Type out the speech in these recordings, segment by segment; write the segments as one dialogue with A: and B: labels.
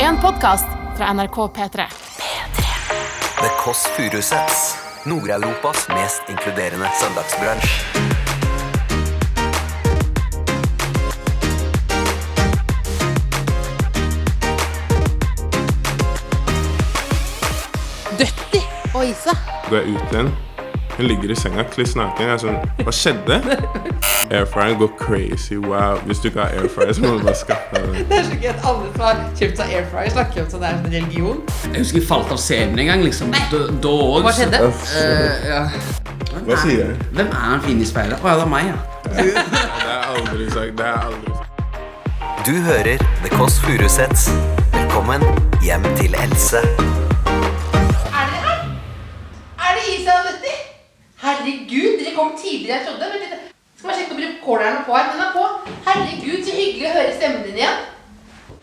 A: En podkast fra NRK P3.
B: The Kåss Furuseths. Nord-Europas mest inkluderende søndagsbransj.
C: Døtti og Isa.
D: Går jeg ut igjen. Hun ligger i senga kliss naken. Jeg er sånn Hva skjedde? Airfryeren går crazy. Wow. Hvis du ikke har airfryer, så må du bare skaffe deg den.
C: Det er så gøy at alle som har kjøpt seg air fryer, snakker om sånn det er en religion.
E: Jeg husker jeg falt av scenen en gang. liksom. Da, da også.
C: Hva skjedde?
D: Uff.
E: Eh, ja. Hvem
D: Hva
E: er-
D: sier jeg?
E: Hvem er han fine i speilet? Å ja, det er meg, ja.
D: Det er aldri sagt. Det er aldri sagt.
B: Du hører The Kåss Furuseths. Velkommen hjem til Else.
C: Er dere her? Er det Isa og Døtti? Herregud, dere kom tidligere enn jeg trodde. Vent litt. Skal bare sjekke om recorderen er på her. Den er på. Herregud, så hyggelig å høre stemmen din igjen.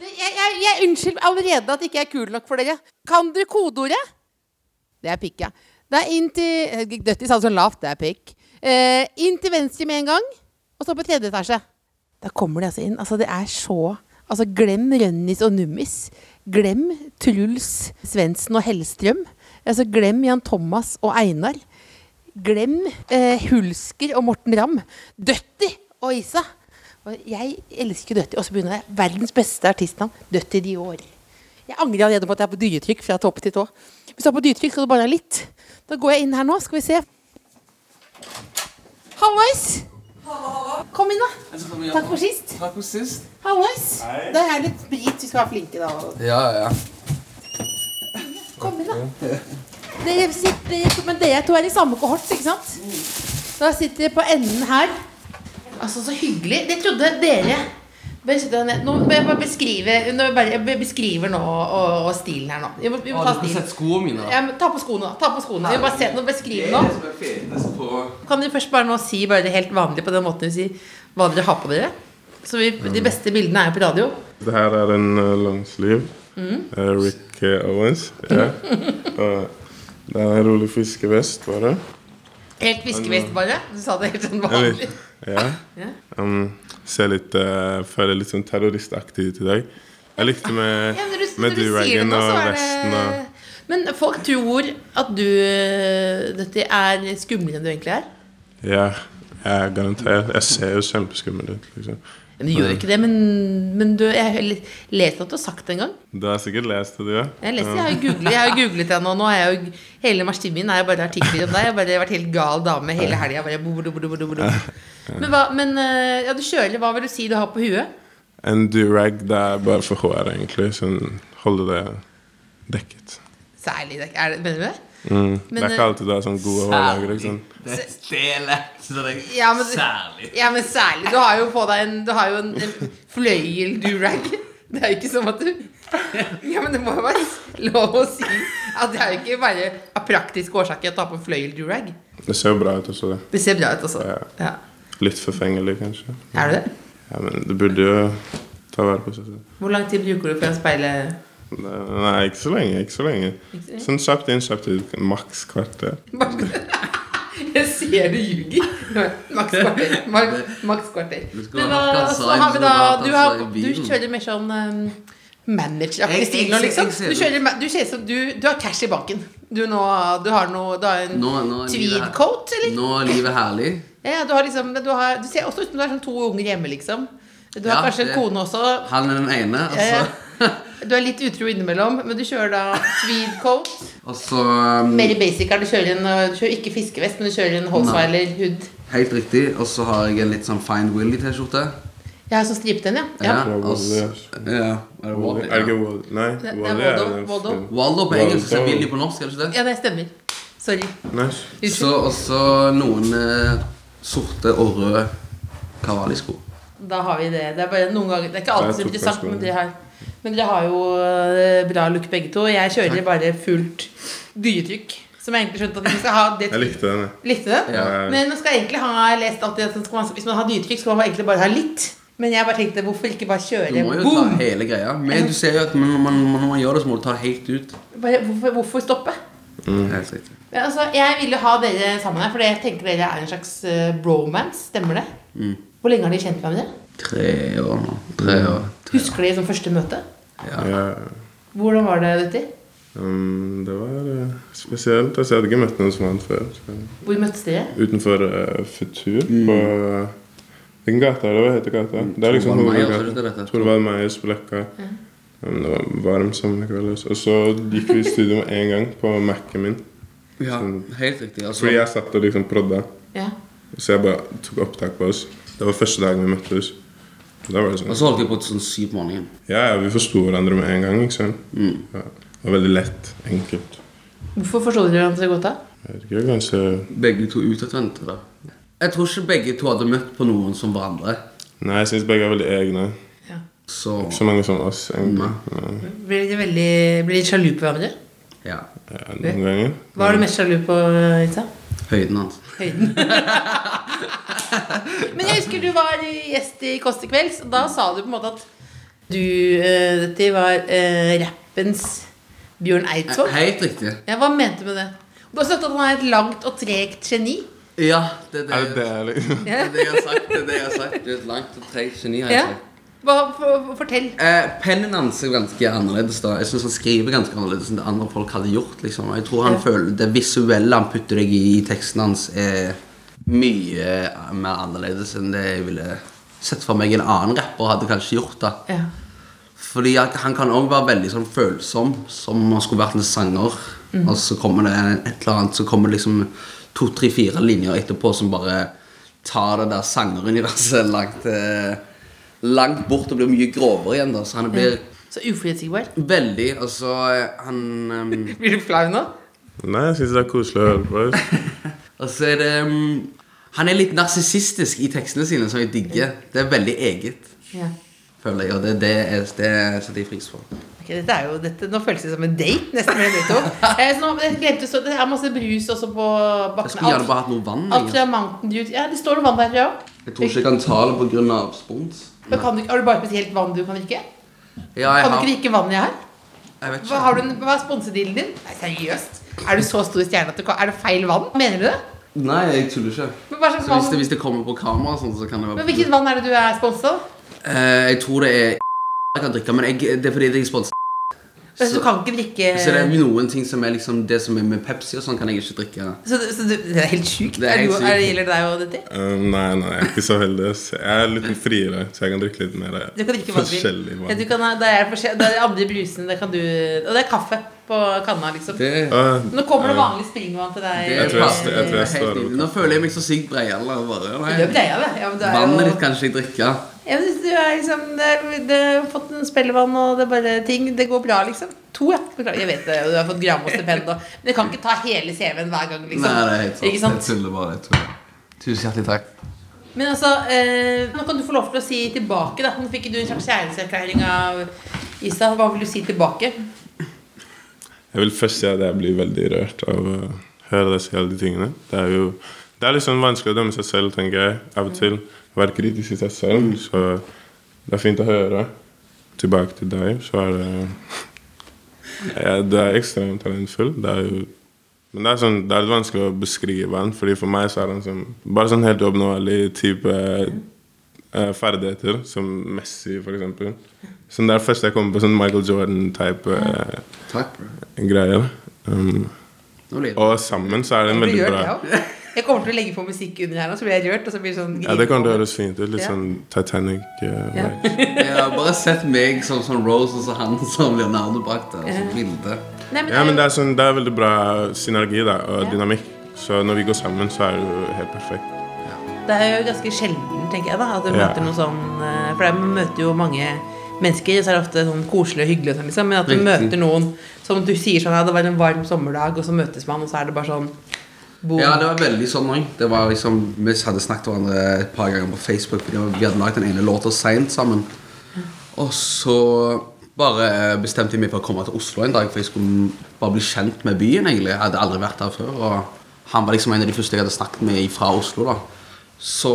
C: Jeg, jeg, jeg unnskylder allerede at jeg ikke er kul nok for dere. Kan dere kodeordet? Det er pikk, ja. Det er inn til Døtti sa det så lavt. Det er pikk. Eh, inn til venstre med en gang, og så på tredje etasje. Da kommer de altså inn. Altså, det er så Altså, glem Rønnis og Nummis. Glem Truls Svendsen og Hellstrøm. Altså, glem Jan Thomas og Einar. Glem eh, Hulsker og Morten Ramm. Døtti og Isa. Og jeg elsker Døtti. Og så begynner jeg. Verdens beste artistnavn. Døtti Dior. Jeg angrer allerede på at jeg er på dyretrykk fra topp til tå. Hvis du er på dyretrykk, skal du bare ha litt. Da går jeg inn her nå. Skal vi se. Hallais! Kom inn, da. Takk for sist.
E: Takk for sist.
C: Hallais! Det er litt sprit. Vi skal være flinke da.
E: Ja, ja.
C: Kom inn, da. Dere sitter, men dere to er i samme kohort, ikke sant? Da sitter dere på enden her. Altså, så hyggelig. Det trodde dere Bare sitt deg ned. Nå må jeg bare beskrive nå bare, Jeg beskriver nå og, og stilen her nå. Vi må, vi må
E: Å,
C: ta
E: du får
C: stilen.
E: sett skoene mine.
C: Ja, men ta på skoene, da. Ta på skoene. Vi må bare se, nå beskriver nå. Kan dere først bare nå si bare det helt vanlige på den måten vi sier hva dere har på dere? Så vi, De
D: Mm.
C: beste bildene er jo på radio.
D: Det her er en uh, longsleeve.
C: Mm.
D: Eh, Rick eh, Owens. Ja. Og det er en rolig fiskevest, bare.
C: Helt fiskevest, bare. Du sa det helt sånn
D: Eller-
C: vanlig.
D: Ja.
C: Ja.
D: Um, ser litt eh, Føler litt sånn terroristaktig ut i dag. Jeg likte med,
C: Ja, men når du, når
D: med
C: du sier det
D: do-ragen
C: nå,
D: og
C: så er
D: vesten og
C: det Men folk tror at du dette er skumlere enn du egentlig er.
D: Ja, jeg garantert. Jeg ser jo kjempeskummel ut, liksom.
C: Men du gjør ikke det, men, men du, jeg har lest at du har sagt det en gang.
D: Du har sikkert lest det, du òg?
C: Jeg, leser, jeg, har jo googlet, jeg har jo googlet deg nå. nå har jeg jo, hele maskinen min er jo bare artikler om deg. Jeg har bare vært helt gal dame hele helga. Men, hva, men eh, ja, du kjører. Hva vil du si du har på huet?
D: En durag, det er bare for håret, egentlig. Sånn, holde det dekket.
C: Særlig. det- Er det, mener du det?
D: Mm.
C: Men,
D: det er
C: eh,
D: ikke alltid du har sånn gode hårlager, liksom.
E: Det er lett. så det er
C: Ja, men-
E: Særlig.
C: Ja, men særlig. Du har jo på deg en, du har jo en, en fløyel-durag. Det er jo ikke som at du Ja, men det må jo være lov å si at det er jo ikke bare av praktiske årsaker å ta på en fløyel-durag.
D: Det ser jo bra ut også, det.
C: Det ser bra ut, altså.
D: Ja.
C: Ja.
D: Litt forfengelig, kanskje.
C: Er du det?
D: Ja, men det burde jo ta vare på seg selv.
C: Hvor lang tid bruker du for å speile
D: Nei, ikke så lenge. Ikke så lenge. Sånn kjapt inn, kjapt ut. Maks kvarter.
C: Jeg ser du ljuger. Maks kvarter. Maks- Maks kvarter.
E: Du skal
C: Men
E: ha
C: hva,
E: hatt
C: så
E: design,
C: har vi
E: så
C: da
E: har
C: Du,
E: du hatt
C: har,
E: design i
C: du
E: bilen.
C: kjører mer sånn um,
E: Jeg-
C: manageraktig
E: jeg
C: stil nå,
E: ser-
C: liksom.
E: jeg ser
C: Du,
E: det.
C: kjører, ma- du, ser som du, du har cash i banken. Du, nå, du har noe Du har en
E: Nå, nå er livet her-
C: tweed-coat, eller?
E: Nå er livet herlig.
C: Ja, du, har liksom, du, har, du ser også ut som du har sånn to unger hjemme, liksom. Du har
E: Ja,
C: kanskje en
E: det-
C: kone også.
E: Han er den ene, og
C: Ja,
E: så,
C: ja. Du er litt utro innimellom, men du kjører da tweed-coat.
E: og så um,
C: Mer basic er du kjører en uh, Du kjører ikke fiskevest, men du kjører en Holzweiler-hood.
E: Helt riktig. Og så har jeg en litt sånn Find Willy-T-skjorte.
C: Jeg har sånn stripete en, ja. ja.
D: Ja,
E: og så- ja. Er det
D: Er
E: Wally?
D: det ikke
E: Ja.
D: Wall- Nei,
C: Det- det er
D: Wally er
C: Waldo-
D: den
C: Waldo.
D: filmen.
E: Waldo på engelsk og
D: Waldo.
E: Willy på norsk, er det ikke det?
C: Ja, det stemmer. Sorry.
D: Nice.
E: Så også noen eh, sorte og røde Cavalli-sko.
C: Da har vi det. Det er bare noen ganger Det er ikke alltid
D: Jeg
C: så
D: tok
C: interessant,
D: første
C: men dere har, men dere har jo eh, bra look begge to. Jeg kjører bare fullt dyretrykk. Som jeg egentlig skjønte at vi skal ha. Det
D: Jeg likte den, jeg.
C: Likte du det?
E: Ja.
C: Men man skal egentlig ha jeg har lest alltid at man skal- hvis man har dyretrykk, skal man egentlig bare ha litt. Men jeg bare tenkte, hvorfor ikke bare
E: Du
C: kjøre
E: må jo ta
C: boom?
E: hele greia. Men du ser jo at når man, når man gjør det, så må du ta det helt ut.
C: Bare, hvorfor, hvorfor stoppe?
E: Helt riktig.
C: Men Altså, jeg vil jo ha dere sammen her, for jeg tenker dere er en slags eh, bromance. Stemmer det?
E: Mm.
C: Hvor lenge har dere kjent hverandre?
E: Tre år nå. Tre år. Tre år.
C: Husker dere som første møte?
E: Mm. Ja.
D: Ja.
C: Hvordan var det, Dutti?
D: Um, det var eh, spesielt. Altså, jeg hadde ikke møtt noen som han før. Så.
C: Hvor møttes dere?
D: Utenfor eh, Futur
E: Mm.
D: på eh, Hvilken gate er det? Hva heter gata? Det er liksom
E: Thorvald Meyers,
D: hovedgata.
E: er Mm. det dette?
D: Thorvald Meyers på Løkka. Um, det var en varm sommerkveld. også. altså. Og så gikk vi i studio med en gang på Mac-en min.
E: Ja, helt riktig. Altså,
D: Fordi jeg satt og liksom prodda.
C: Ja.
D: Så jeg bare tok opptak på oss. Det var første dagen vi møttes. Da var det
E: og
D: sånn.
E: så holdt jeg på til sånn syv på morgenen.
D: Ja, ja, vi forsto hverandre med en gang. ikke sant?
E: Mm.
D: Ja. Det var veldig lett. Enkelt.
C: Hvorfor forstod dere hverandre så godt da?
D: Jeg vet ikke, kanskje
E: Begge to utadvendte, da. Jeg tror ikke begge to hadde møtt på noen som hverandre.
D: Nei, jeg syns begge er veldig egne.
C: Ja.
E: Så
D: Ikke så mange som oss, egentlig. Nei.
C: Blir dere veldig blir dere sjalu på hverandre?
E: ja.
D: Ja, eh, noen ganger.
C: Hva er du mest sjalu på, Isa?
E: Høyden hans.
C: Høyden. Men jeg husker du var gjest i Kåss til kvelds, og da sa du på en måte at du, eh, dette var eh, rappens Bjørn
E: Eh,
C: Eidsvåg.
E: Helt riktig.
C: Ja, hva mente du med det? Du har sagt at han er et langt og tregt geni.
E: Ja, det
D: Er
E: er
D: det
E: det,
D: det, liksom?
E: det, er det jeg har sagt. Det er det jeg har sagt. Du er et langt og treigt geni. har jeg
C: Ja.
E: sagt.
C: Hva, for, fortell.
E: Eh, pennen hans er ganske annerledes. da Jeg synes han skriver ganske annerledes enn det andre folk hadde gjort. liksom Jeg tror han føler Det visuelle han putter deg i i teksten hans, er mye eh, mer annerledes enn det jeg ville sett for meg en annen rapper hadde kanskje gjort. da
C: Ja.
E: Fordi at han kan også være veldig sånn følsom, som om han skulle vært en sanger.
C: Mhm.
E: Og så kommer det et eller annet, så kommer det liksom to, tre, fire linjer etterpå som bare tar det der sangeruniverset langt, eh, langt bort og blir mye grovere igjen. da Så han blir
C: Så uforutsigbar.
E: veldig Altså, eh, han ehm,
C: Blir du flau nå?
D: Nei, jeg syns det er koselig å høre på. ass.
E: Og så er det ehm, Han er litt narsissistisk i tekstene sine, som jeg digger. Det er veldig eget,
C: Ja.
E: føler jeg, og det, det, er, det setter jeg pris på.
C: Ok, dette er jo, dette, nå føles det som en date. nesten mer enn date også. Eh, så nå, jeg glemte, så, Det er masse brus også på
E: Jeg
C: bakken.
E: skulle gjerne
C: Alt,
E: bare hatt noe vann.
C: alt
E: Jeg,
C: fra Mountain Dew til- Ja, det står noe vann der, tror jeg også.
E: jeg tror ikke jeg kan ta det pga. spons.
C: Men kan du, ikke- har du bare spesielt vann du kan drikke?
E: Ja, jeg
C: Kan du
E: har,
C: ikke drikke vann jeg har?
E: jeg vet
C: Hva,
E: ikke.
C: har du, en- hva er sponsedealen din? Nei, seriøst? Er du så stor stjerne at du kan Er det feil vann? Mener du det?
E: Nei, jeg tuller ikke.
C: Men hva slags
E: Så hvis det,
C: vann?
E: hvis det kommer på kamera, og sånn, så kan det være
C: Men hvilket vann er det du er sponset av?
E: Eh, Jeg tror det er jeg kan drikke, men jeg, det er fordi jeg er sponset.
C: Eh. Så,
E: Så-
C: du kan ikke drikke
E: Så det er noen ting som er liksom det som er med Pepsi og sånn, kan jeg ikke drikke.
C: Så, du- så du, det er helt sjukt.
E: Det er helt
C: du- er det
E: sykt.
C: gjelder deg og dette?
D: Um, nei, nei, jeg er ikke så heldig. ass. Jeg er litt friere, så jeg kan drikke litt mer
C: Du kan drikke hva du vil.
D: forskjellig
C: Ja, du
D: vann.
C: kan, ha- det, er forskjell, det er de andre brusene, det kan du Og det er kaffe på kanna, liksom.
E: Det,
D: Ah,
C: Nå kommer det
D: ja.
C: vanlig springvann til deg.
E: det
D: Jeg tror jeg- jeg tror jeg
E: helt
D: står over
E: nydelig. Nå føler jeg meg så sykt breial.
C: Du er breia, det. Ja, men du er jo-
E: Vannet ditt kan ikke jeg drikke.
C: Ja, men du er liksom det, er- det har fått en spellevann, og det er bare ting Det går bra, liksom. To, ja. Beklager, jeg vet det. Og du har fått gram og stipend, og Men jeg kan ikke ta hele CV-en hver gang, liksom.
E: Nei, det er helt sant.
C: Ikke sant?
E: Jeg tuller bare. Jeg tuller. Tusen hjertelig takk.
C: Men altså, eh, nå kan du få lov til å si tilbake, da. Nå fikk du en slags kjærlighetserklæring av Isa. Hva vil du si tilbake?
D: Jeg vil først si at jeg blir veldig rørt av å høre disse hele de tingene. Det er jo det er litt sånn vanskelig å dømme seg selv, tenker jeg. Av og til være kritisk til seg selv. Så det er fint å høre. Tilbake til deg, så er det ja, Du er ekstremt talentfull. Det er jo men det er, sånn, det er litt vanskelig å beskrive han, fordi for meg så er han sånn, bare sånn helt oppnåelig type eh, ferdigheter, som Messi for eksempel. Sånn det er først jeg kommer på sånn Michael Jordan-type eh,
E: Takk, bro.
D: greier. Um,
E: Nå blir det.
D: og sammen så er det en
C: Du
D: veldig
C: gjør
D: bra
C: det også. Jeg kommer til å legge på musikk under her, nå, så blir jeg rørt. Og så blir det sånn
D: Ja, det kommer til å høres fint ut. Litt
C: Ja.
D: sånn eh, Titanic-vibes.
C: Ja.
E: Jeg har bare sett meg som sånn Rose og så han som Leonardo bak der. Og så bilde.
C: Nei, men,
D: Ja, men
C: det
D: det
C: er
D: er, sånn, det er veldig bra synergi da, og
C: Ja.
D: dynamikk. Så når vi går sammen, så er det jo helt perfekt.
C: jo, det er jo ganske sjelden, tenker jeg, da, at du
D: Ja.
C: møter noe sånn eh, For jeg møter jo mange mennesker, så er det ofte sånn koselig og hyggelig, og sånn, liksom, men at du
E: Riktig.
C: møter noen som du sier sånn Ja, det var en varm sommerdag, og så møtes man, og så er det bare sånn boom.
E: Ja, det var veldig sånn òg. Det var liksom, vi hadde snakket hverandre et par ganger på Facebook. Fordi vi hadde laget den ene låta seint sammen. Og så bare eh, bestemte jeg meg for å komme til Oslo en dag, for jeg skulle bare bli kjent med byen. egentlig. Jeg hadde aldri vært her før. Og han var liksom en av de første jeg hadde snakket med fra Oslo. da. Så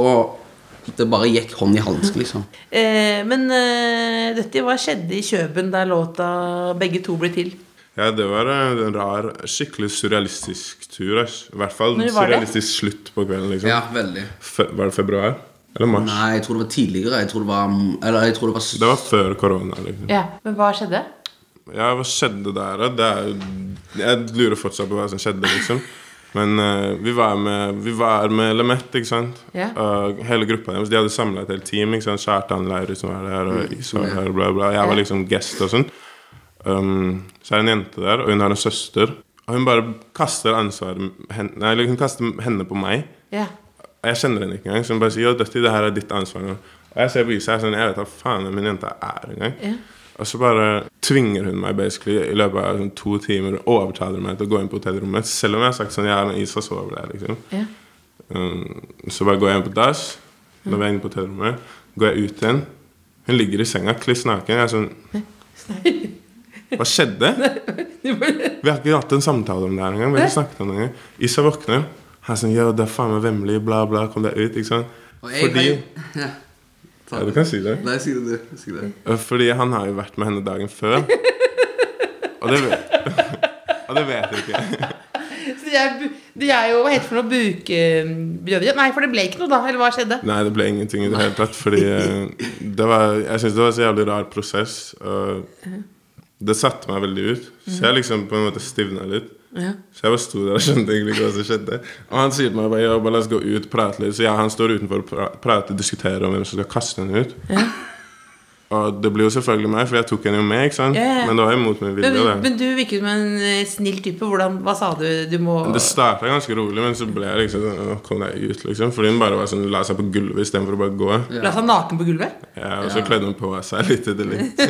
E: det bare gikk hånd i hanske, liksom.
C: Eh, men eh, dette, hva skjedde i Kjøben der låta begge to ble til?
D: Ja, det var eh, en rar, skikkelig surrealistisk tur. ass. I hvert fall
C: Når var det?
D: surrealistisk slutt på kvelden, liksom.
E: Ja, veldig.
D: Fe var det februar? Eller mars?
E: Nei, jeg tror det var tidligere. Jeg tror det var, eller jeg tror det var
D: Det var før korona, liksom.
C: Ja, Men hva skjedde?
D: Ja, hva skjedde der, da? Det er, jo- jeg lurer fortsatt på hva som skjedde, liksom. Men eh, vi var med, vi var med Lemet, ikke sant?
C: Ja.
D: Eh, hele gruppa deres. De hadde samla et helt team. ikke sant? Kjartan Leirus som var der, og Isak var der, og bla, bla. Jeg var liksom guest og sånn. Um, så er det en jente der, og hun har en søster. Og hun bare kaster ansvaret hen- Nei, eller hun kaster henne på meg.
C: Ja.
D: Og Jeg kjenner henne ikke engang. Så hun bare sier «Yo, Dusty, det her er ditt ansvar nå. Og jeg ser på Isa sånn, jeg vet hva faen min jente er engang.
C: Ja.
D: Og så bare tvinger hun meg basically i løpet av sånn to timer og overtaler meg til å gå inn på hotellrommet. Selv om jeg har sagt sånn Ja, men Isa sover der, liksom.
C: Ja.
D: Um, så bare går jeg inn på dass. Da var jeg inne på hotellrommet. Går jeg ut igjen. Hun ligger i senga kliss naken. Jeg er sånn Hva skjedde?
C: Du bare-
D: Vi har ikke hatt en samtale om det her engang. Vi har ikke snakket om det engang. Isa våkner. Han er sånn Ja, det er faen meg vemmelig, bla, bla. Kom deg ut, ikke sant?
E: Og jeg
D: Fordi
E: har- ja.
D: Ja, du kan si det.
E: Nei, si det, du. Si det.
D: Eh, Fordi han har jo vært med henne dagen før. Og det vet, og det vet jeg ikke.
C: Så de er, bu- de er jo Hva heter det for noe? Bukbrødre? Nei, for det ble ikke noe, da. Eller hva skjedde?
D: Nei, det ble ingenting i det hele tatt. Fordi eh, det var, jeg syns det var en så jævlig rar prosess. Og det satte meg veldig ut. Så jeg liksom på en måte stivna litt.
C: Mhm. Ja.
D: Så jeg bare sto der og skjønte egentlig ikke hva som skjedde. Og han sier til meg bare, «Ja, bare la oss gå ut, prate litt. Så ja, han står utenfor og pra- prater, diskuterer om hvem som skal kaste henne ut. Og det blir jo selvfølgelig meg, for jeg tok henne jo med, ikke sant?
C: Ja, ja.
D: Men det var jo mot min vilje.
C: Men,
D: da.
C: men du virket som en eh, snill type. Hvordan, hva sa du? Du må
D: Det starta ganske rolig, men så ble jeg liksom sånn «Åh, Kom deg ut, liksom. Fordi hun bare var sånn, la seg på gulvet istedenfor å bare gå.
C: La seg naken på gulvet?
D: Ja, og så kledde hun på seg litt etter litt.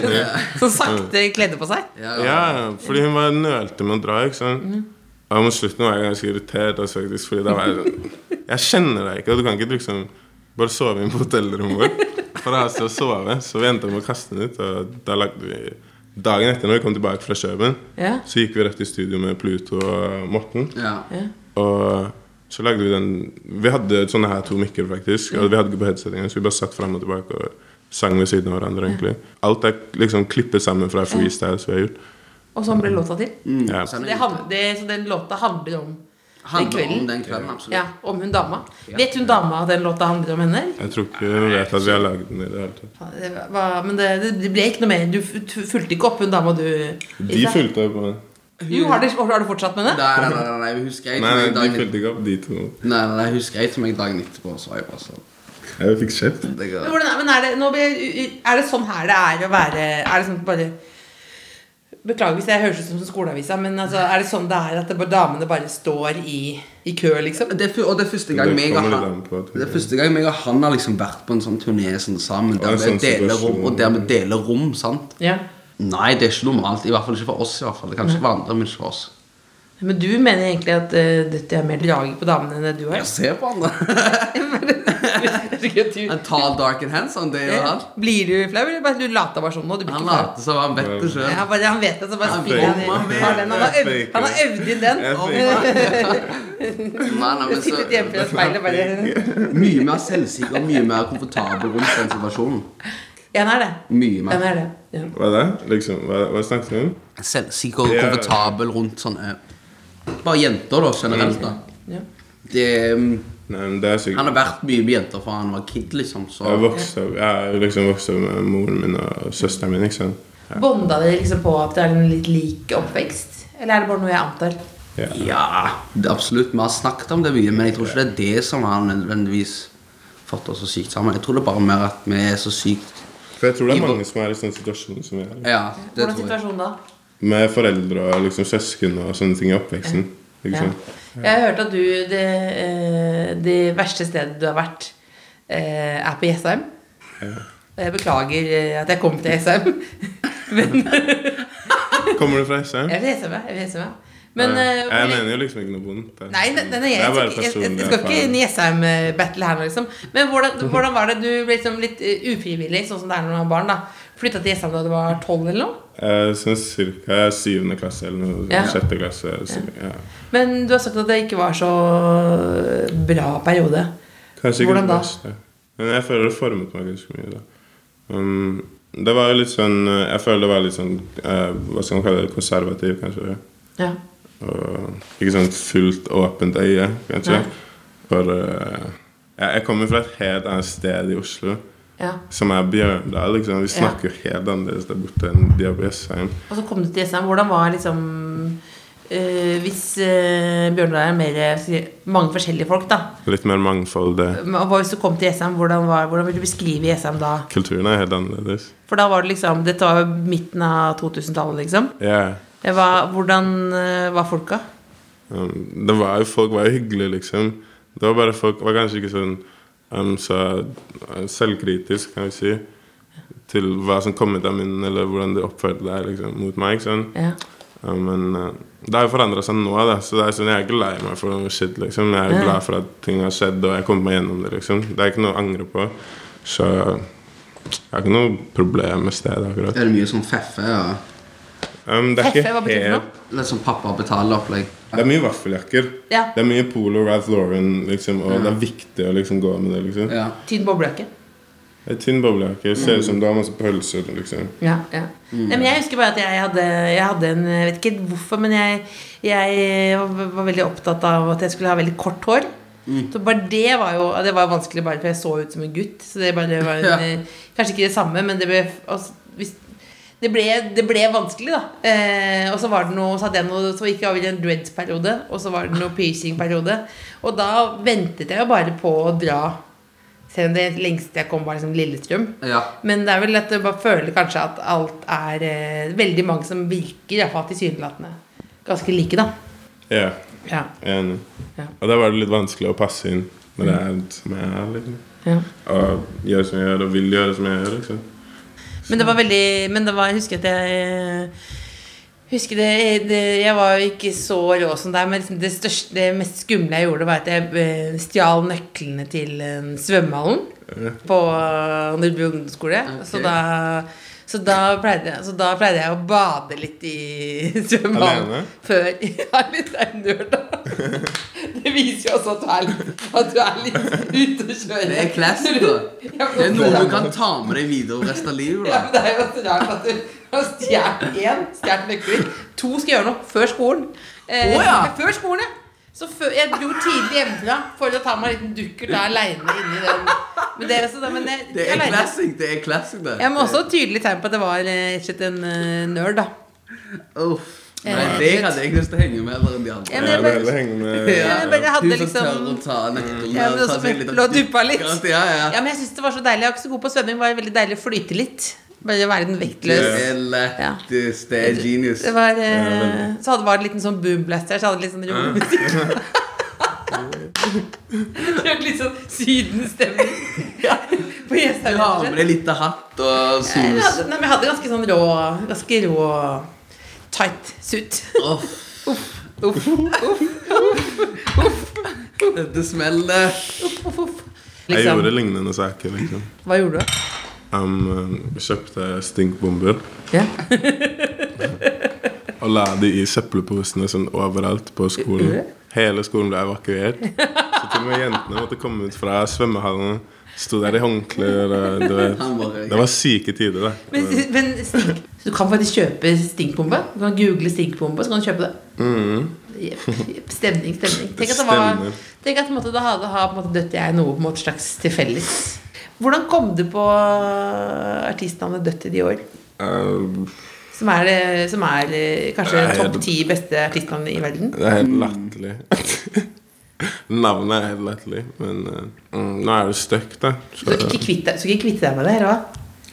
C: Som sakte kledde på seg?
E: Ja,
D: Ja, fordi hun var nølte med å dra, ikke sant. Og mot slutten var jeg ganske irritert, altså, faktisk, fordi da var jeg sånn Jeg kjenner deg ikke, og du kan ikke liksom bare sove inn på hotellrommet vårt. For jeg har sted å sove, så vi endte opp med å kaste den ut. Og da lagde vi Dagen etter, når vi kom tilbake fra Kjøben,
C: Ja.
D: så gikk vi rett i studio med Pluto og Morten.
E: Ja.
D: Og så lagde vi den Vi hadde sånne her to mikker, faktisk. Og vi hadde ikke på headsetingen, så vi bare satt frem og tilbake og sang ved siden av hverandre. egentlig Alt er liksom klippet sammen fra freestyles vi har gjort.
C: Og sånn ble låta til?
D: Ja.
E: Så
C: Så,
E: den
C: det, han- det, så den låta handler om den
E: Mm. handler om
C: kvelden?
E: den kvelden, absolutt.
C: Ja, om hun dama. Vet hun dama at den låta handler om henne?
D: Jeg tror ikke hun vet at vi har lagd den i det hele tatt.
C: Det var, men det, det ble ikke noe mer. Du f- t- fulgte ikke opp hun dama du
D: De fulgte opp med
C: Jo, har du, har du fortsatt med det?
E: Nei, nei, nei, nei, nei, husker jeg
D: Nei, nei,
E: til meg
D: de
E: dagen
D: fulgte ikke opp, de to.
E: Nei, nei, nei, husker jeg til meg dagen etterpå, så var jeg bare sånn
D: Jeg fikk kjeft.
E: det
C: Men
E: går.
C: Hvordan, er- men er det, nå ble, jeg- er det sånn her det er å være Er det sånn bare Beklager hvis jeg høres ut som skoleavisa, men altså, er det sånn det er at det, bare- damene bare står i, i kø, liksom?
E: Det er, fyr- og det er første gang
D: Det
E: meg og
D: kommer litt
E: han
D: an på, tror jeg.
E: Det er første gang meg og han har liksom vært på en sånn turné sånn sammen, der
D: en
E: vi
D: sånn
E: deler
D: situasjon.
E: rom, og der vi deler rom, sant?
C: Ja.
E: Nei, det er ikke normalt. I hvert fall ikke for oss. i hvert fall Kanskje for andre, men ikke for oss.
C: Men du mener egentlig at uh, dette er mer draging på damene enn det du har?
E: Jeg ser på andre.
C: Ja.
E: En tall, dark and handsome, det gjør han.
C: Blir du flau, eller bare du later bare som nå? Du blir
E: Han
C: ikke flau?
E: later som han vet det
C: Ja,
E: sjøl.
C: bare, han vet det, så bare
E: Han
C: spiller han i
E: faker.
C: han har den. Han har øvd, han har øvd inn den.
D: Jeg
E: altså,
C: Sittet hjemme fra speilet bare
E: Mye mer selvsikker og mye mer komfortabel rundt den situasjonen.
C: Ja, han er det.
E: Mye
C: Han
E: mer
C: er det. Ja.
D: Hva er det? Liksom, hva, hva snakket vi om?
E: selvsikker og
D: Ja.
E: komfortabel rundt sånn eh, Bare jenter, da, generelt. da
C: Ja.
E: det, mm,
D: Nei, men det er
E: Han
D: sikkert
E: har vært mye med jenter fra han var kid, liksom. Så
D: Jeg vokste opp, jeg er liksom vokst opp med moren min og søsteren min, ikke sant.
C: Bonda dere liksom på at det er en litt lik oppvekst? Eller er det bare noe jeg antar?
D: Ja.
E: ja, det er absolutt. Vi har snakket om det mye, men jeg tror ikke det er det som har nødvendigvis fått oss så sykt sammen. Jeg tror det er bare mer at vi er så sykt
D: For jeg tror det
E: I
D: er
E: vår-
D: mange som er i sånn situasjon som jeg er.
E: Ja,
C: Hvordan er
E: det tror jeg.
C: situasjonen da?
D: Med foreldre og liksom søsken og sånne ting i oppveksten.
C: Ja.
D: Liksom.
C: Jeg har hørt at du det, eh, det verste stedet du har vært, eh, er på Jessheim. Og Jeg beklager eh, at jeg kom til Jessheim.
D: Kommer du fra Jessheim?
C: Jeg vil Jessheim, jeg. vil Jessheim, jeg. Eh, Men
D: Nei,
C: eh,
D: jeg mener jo liksom ikke noe vondt. jeg.
C: Nei, nei, nei, nei,
D: det
C: jeg,
D: er bare
C: jeg, jeg, jeg
D: personlig
C: skal ikke inn
D: erfaring.
C: i Jessheim-battle her nå, liksom. Men hvordan, hvordan var det? Du ble liksom litt eh, ufrivillig, sånn som det er når man har barn, da. Flytta til Jessheim da du var tolv eller noe.
D: Eh, Jeg syns ca. syvende klasse eller noe,
C: Ja.
D: sjette klasse. Så, ja.
C: Men du har sagt at det ikke var så eh, bra periode.
D: Kanskje ikke
C: Hvordan
D: det
C: da?
D: beste. Men jeg føler det formet meg ganske mye. da. Um, det var jo litt sånn eh, Jeg føler det var litt sånn eh, Hva skal man kalle det? Konservativ, kanskje.
C: Ja.
D: Og ikke sånn fullt åpent øye, kanskje.
C: Nei.
D: For eh, jeg, jeg kommer fra et helt annet sted i Oslo.
C: Ja.
D: som er Bjørn der. liksom. Vi snakker helt annerledes der borte enn de er på Jessheim.
C: Og så kom du til Jessheim. Hvordan var liksom eh, Hvis uh, Bjørnvær er mer eh, si- mange forskjellige folk, da.
D: Litt mer mangfold. eh.
C: Men hva Hvis du kom til Jessheim, hvordan, var- hvordan vil du beskrive Jessheim da?
D: Kulturen er helt annerledes.
C: For da var det liksom Dette var jo midten av 2000-tallet, liksom.
D: Ja.
C: Det var, hvordan eh, var folka?
D: Um, det var jo, folk var jo hyggelige, liksom. Det var bare Folk var kanskje ikke sånn um, så uh, selvkritisk, kan vi si, til hva som kom ut av munnen, eller hvordan de oppførte seg liksom, mot meg. ikke sant?
C: Ja.
D: Ja, men eh, det har jo forandra seg nå, da. så det er sånn, jeg er ikke lei meg for noe shit. liksom. Jeg er
C: Ja.
D: glad for at ting har skjedd, og jeg kommer meg gjennom det. liksom. Det er ikke noe å angre på. Så jeg har ikke noe problem med stedet akkurat.
E: Er det mye sånn feffe og
D: Um, det er
C: Heffe, hva
D: ikke
C: betyr det for noe?
D: helt...
E: litt sånn pappa betaler-opplegg?
D: Det er mye vaffeljakker.
C: Ja.
D: Det er mye Polo Ralph Lauren, liksom, og det er viktig å liksom gå med det. liksom.
E: Ja.
C: Tynn boblejakke.
D: En tynn boblejakke. Ser ut
C: Mm.
D: som du har masse pølser. liksom.
C: Ja, ja. Nei, men jeg husker bare at jeg hadde, jeg hadde en Jeg vet ikke hvorfor, men jeg, jeg var var veldig opptatt av at jeg skulle ha veldig kort hår. Så bare det var jo Det var vanskelig bare for jeg så ut som en gutt. Så det bare var en,
E: Ja.
C: eh, Kanskje ikke det samme, men det ble altså, hvis, det ble, det ble vanskelig, da. Eh, og så var det noe, så hadde jeg noe Så gikk jeg over i en dreads-periode, og så var det noe piercing-periode. Og da ventet jeg jo bare på å dra. Selv om det lengste jeg kom, var liksom Lillestrøm.
E: Ja.
C: Men det er vel at jeg bare føler kanskje at alt er eh, veldig mange som virker, iallfall tilsynelatende, ganske like, da.
D: Ja,
C: Ja.
D: jeg er enig.
C: Ja. Mm.
D: Og da var det litt vanskelig å passe inn når det er som jeg er. liksom.
C: ja.
D: Og gjøre som jeg gjør, og vil gjøre som jeg gjør. liksom.
C: Men det var veldig Men det var, jeg husker at jeg eh, Husker det, det Jeg var jo ikke så rå som deg, men liksom det, største, det mest skumle jeg gjorde, var at jeg eh, stjal nøklene til eh, svømmehallen på eh, Nordby ungdomsskole. Så
E: Ok.
C: da så da, pleide jeg, så da pleide jeg å bade litt i svømmehallen
D: Alene?
C: før Jeg er litt nerd, da. Det viser jo også at du er litt, at du er litt ute å kjøre.
E: Det er classic, da.
C: Ja, men
E: Det er noe
C: også-
E: du kan ta med deg videre resten av livet.
C: ja,
E: da
C: men det er jo så rart at du har stjålet én, stjålet nøkler. To skal gjøre noe før skolen. Eh,
E: Å, ja.
C: Før skolen, ja. Så før, jeg dro tidlig hjemmefra for å ta meg en liten dukkert da aleine inni den. Men det er også da, men jeg,
E: Det er
C: alene.
E: classic, det er classic, det.
C: Jeg må også ha tydelig tegn på at det var eh, rett og slett en eh, nerd, da.
E: Uff.
C: Eh,
E: Nei, det hadde jeg lyst til å henge med heller enn de andre.
C: Ja,
D: Jeg vil
C: men jeg bare-
D: heller henge med
C: Ja, men jeg hadde
E: Hun som
C: liksom-
E: tør å ta nøkkelen
C: Ja, men
E: og ta
C: også
E: seg en liten
C: lå og duppa litt.
E: dykkert. Ja,
C: Ja,
E: ja.
C: men jeg syns det var så deilig. Jeg var ikke så god på svømming, det var veldig deilig å flyte litt. Bare være den
E: Det
C: vektløs.
E: er lættis. Det er genius.
C: Det var, eh, så hadde var det en liten sånn boomblaster, så hadde det litt sånn romusikk. Kjørte litt sånn sydenstemning på
E: Du
C: Jessheim. rett og
E: har med
C: slett.
E: deg lite hatt
C: Jeg
E: og solstråler.
C: hadde, nei, men jeg hadde ganske sånn rå Ganske rå tight suit. Uff, uff,
E: Dette smeller.
C: uff, uff.
D: Jeg
C: Liksom.
D: gjorde lignende saker. liksom.
C: Hva gjorde du?
D: Um, kjøpte stinkbomber
C: Ja.
D: og la de i søppelposene sånn overalt på skolen. Hele skolen ble evakuert. Så til og med jentene måtte komme ut fra svømmehallen. Sto der i håndklær. og Du vet.
E: Han bare-
D: Det var syke tider, da.
C: Men, men stink, du kan faktisk kjøpe stinkbombe. Du kan google stinkbombe, så kan du kjøpe det. Jepp, jepp. Stemning, stemning. Tenk at det var
D: Stemmer.
C: Tenk at på en måte, da hadde har på en måte dødt jeg noe på en måte slags til felles. Hvordan kom du på øh, artistnavnet Dødt i de år?
D: Um,
C: Som er, eh, som er eh, kanskje
D: Nei,
C: topp
D: det-
C: ti beste artistnavn i verden?
D: Det er helt latterlig. Navnet er helt latterlig, men eh, mm, nå er det stuck, da.
C: Så
D: Så
C: ikke kvitt deg, så ikke kvitte deg med det, eller hva?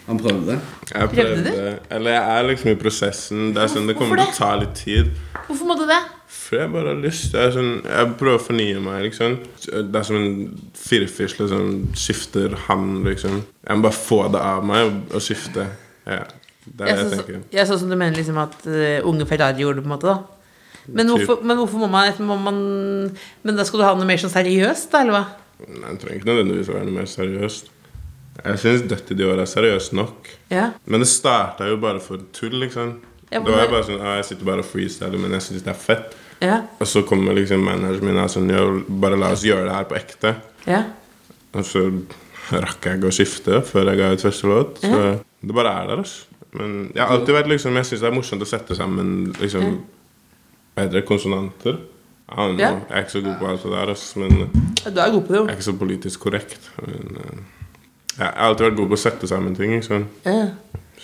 E: Han prøvde.
D: jeg
C: prøvde du?
D: prøvde Eller jeg er liksom i prosessen. Det er sånn, det kommer
F: Hvorfor
D: til å ta litt tid.
F: Hvorfor måtte du det?
D: For jeg bare har lyst jeg, er sånn, jeg prøver å fornye meg, liksom. Det er som en firfisle som skifter hand, liksom. Jeg må bare få det av meg og- og skifte. Ja, det er det jeg tenker.
C: Ja, sånn som du mener liksom at eh, unge Ferrari gjorde det, på en måte, da. Men
D: Typ.
C: hvorfor, men hvorfor må, man, må man Men da skal du ha noe mer sånn seriøst, da, eller hva?
D: Nei, Det trenger ikke nødvendigvis å være noe mer seriøst. Jeg syns dette de åra er seriøst nok.
C: Ja.
D: Men det starta jo bare for tull, liksom.
C: Ja,
D: Det
C: men
D: var
C: det-
D: jo bare sånn, ah, Jeg sitter bare og freestyler, men jeg syns det er fett.
C: Ja.
D: Og så kommer liksom manageren min og er sånn «Yo, Bare la oss gjøre det her på ekte.
C: ja.
D: Og så rakk jeg ikke å skifte før jeg ga ut første låt. Så det bare er der, altså. Men jeg har alltid vært liksom Jeg syns det er morsomt å sette sammen liksom Hva heter det? Konsonanter? I don't know.
C: Ja.
D: Jeg er ikke så god på alt det der, ass, men jeg
C: Du er god på det, jo.
D: er ikke så politisk korrekt. Men, eh, Jeg har alltid vært god på å sette sammen ting. Ikke sant?
C: Ja.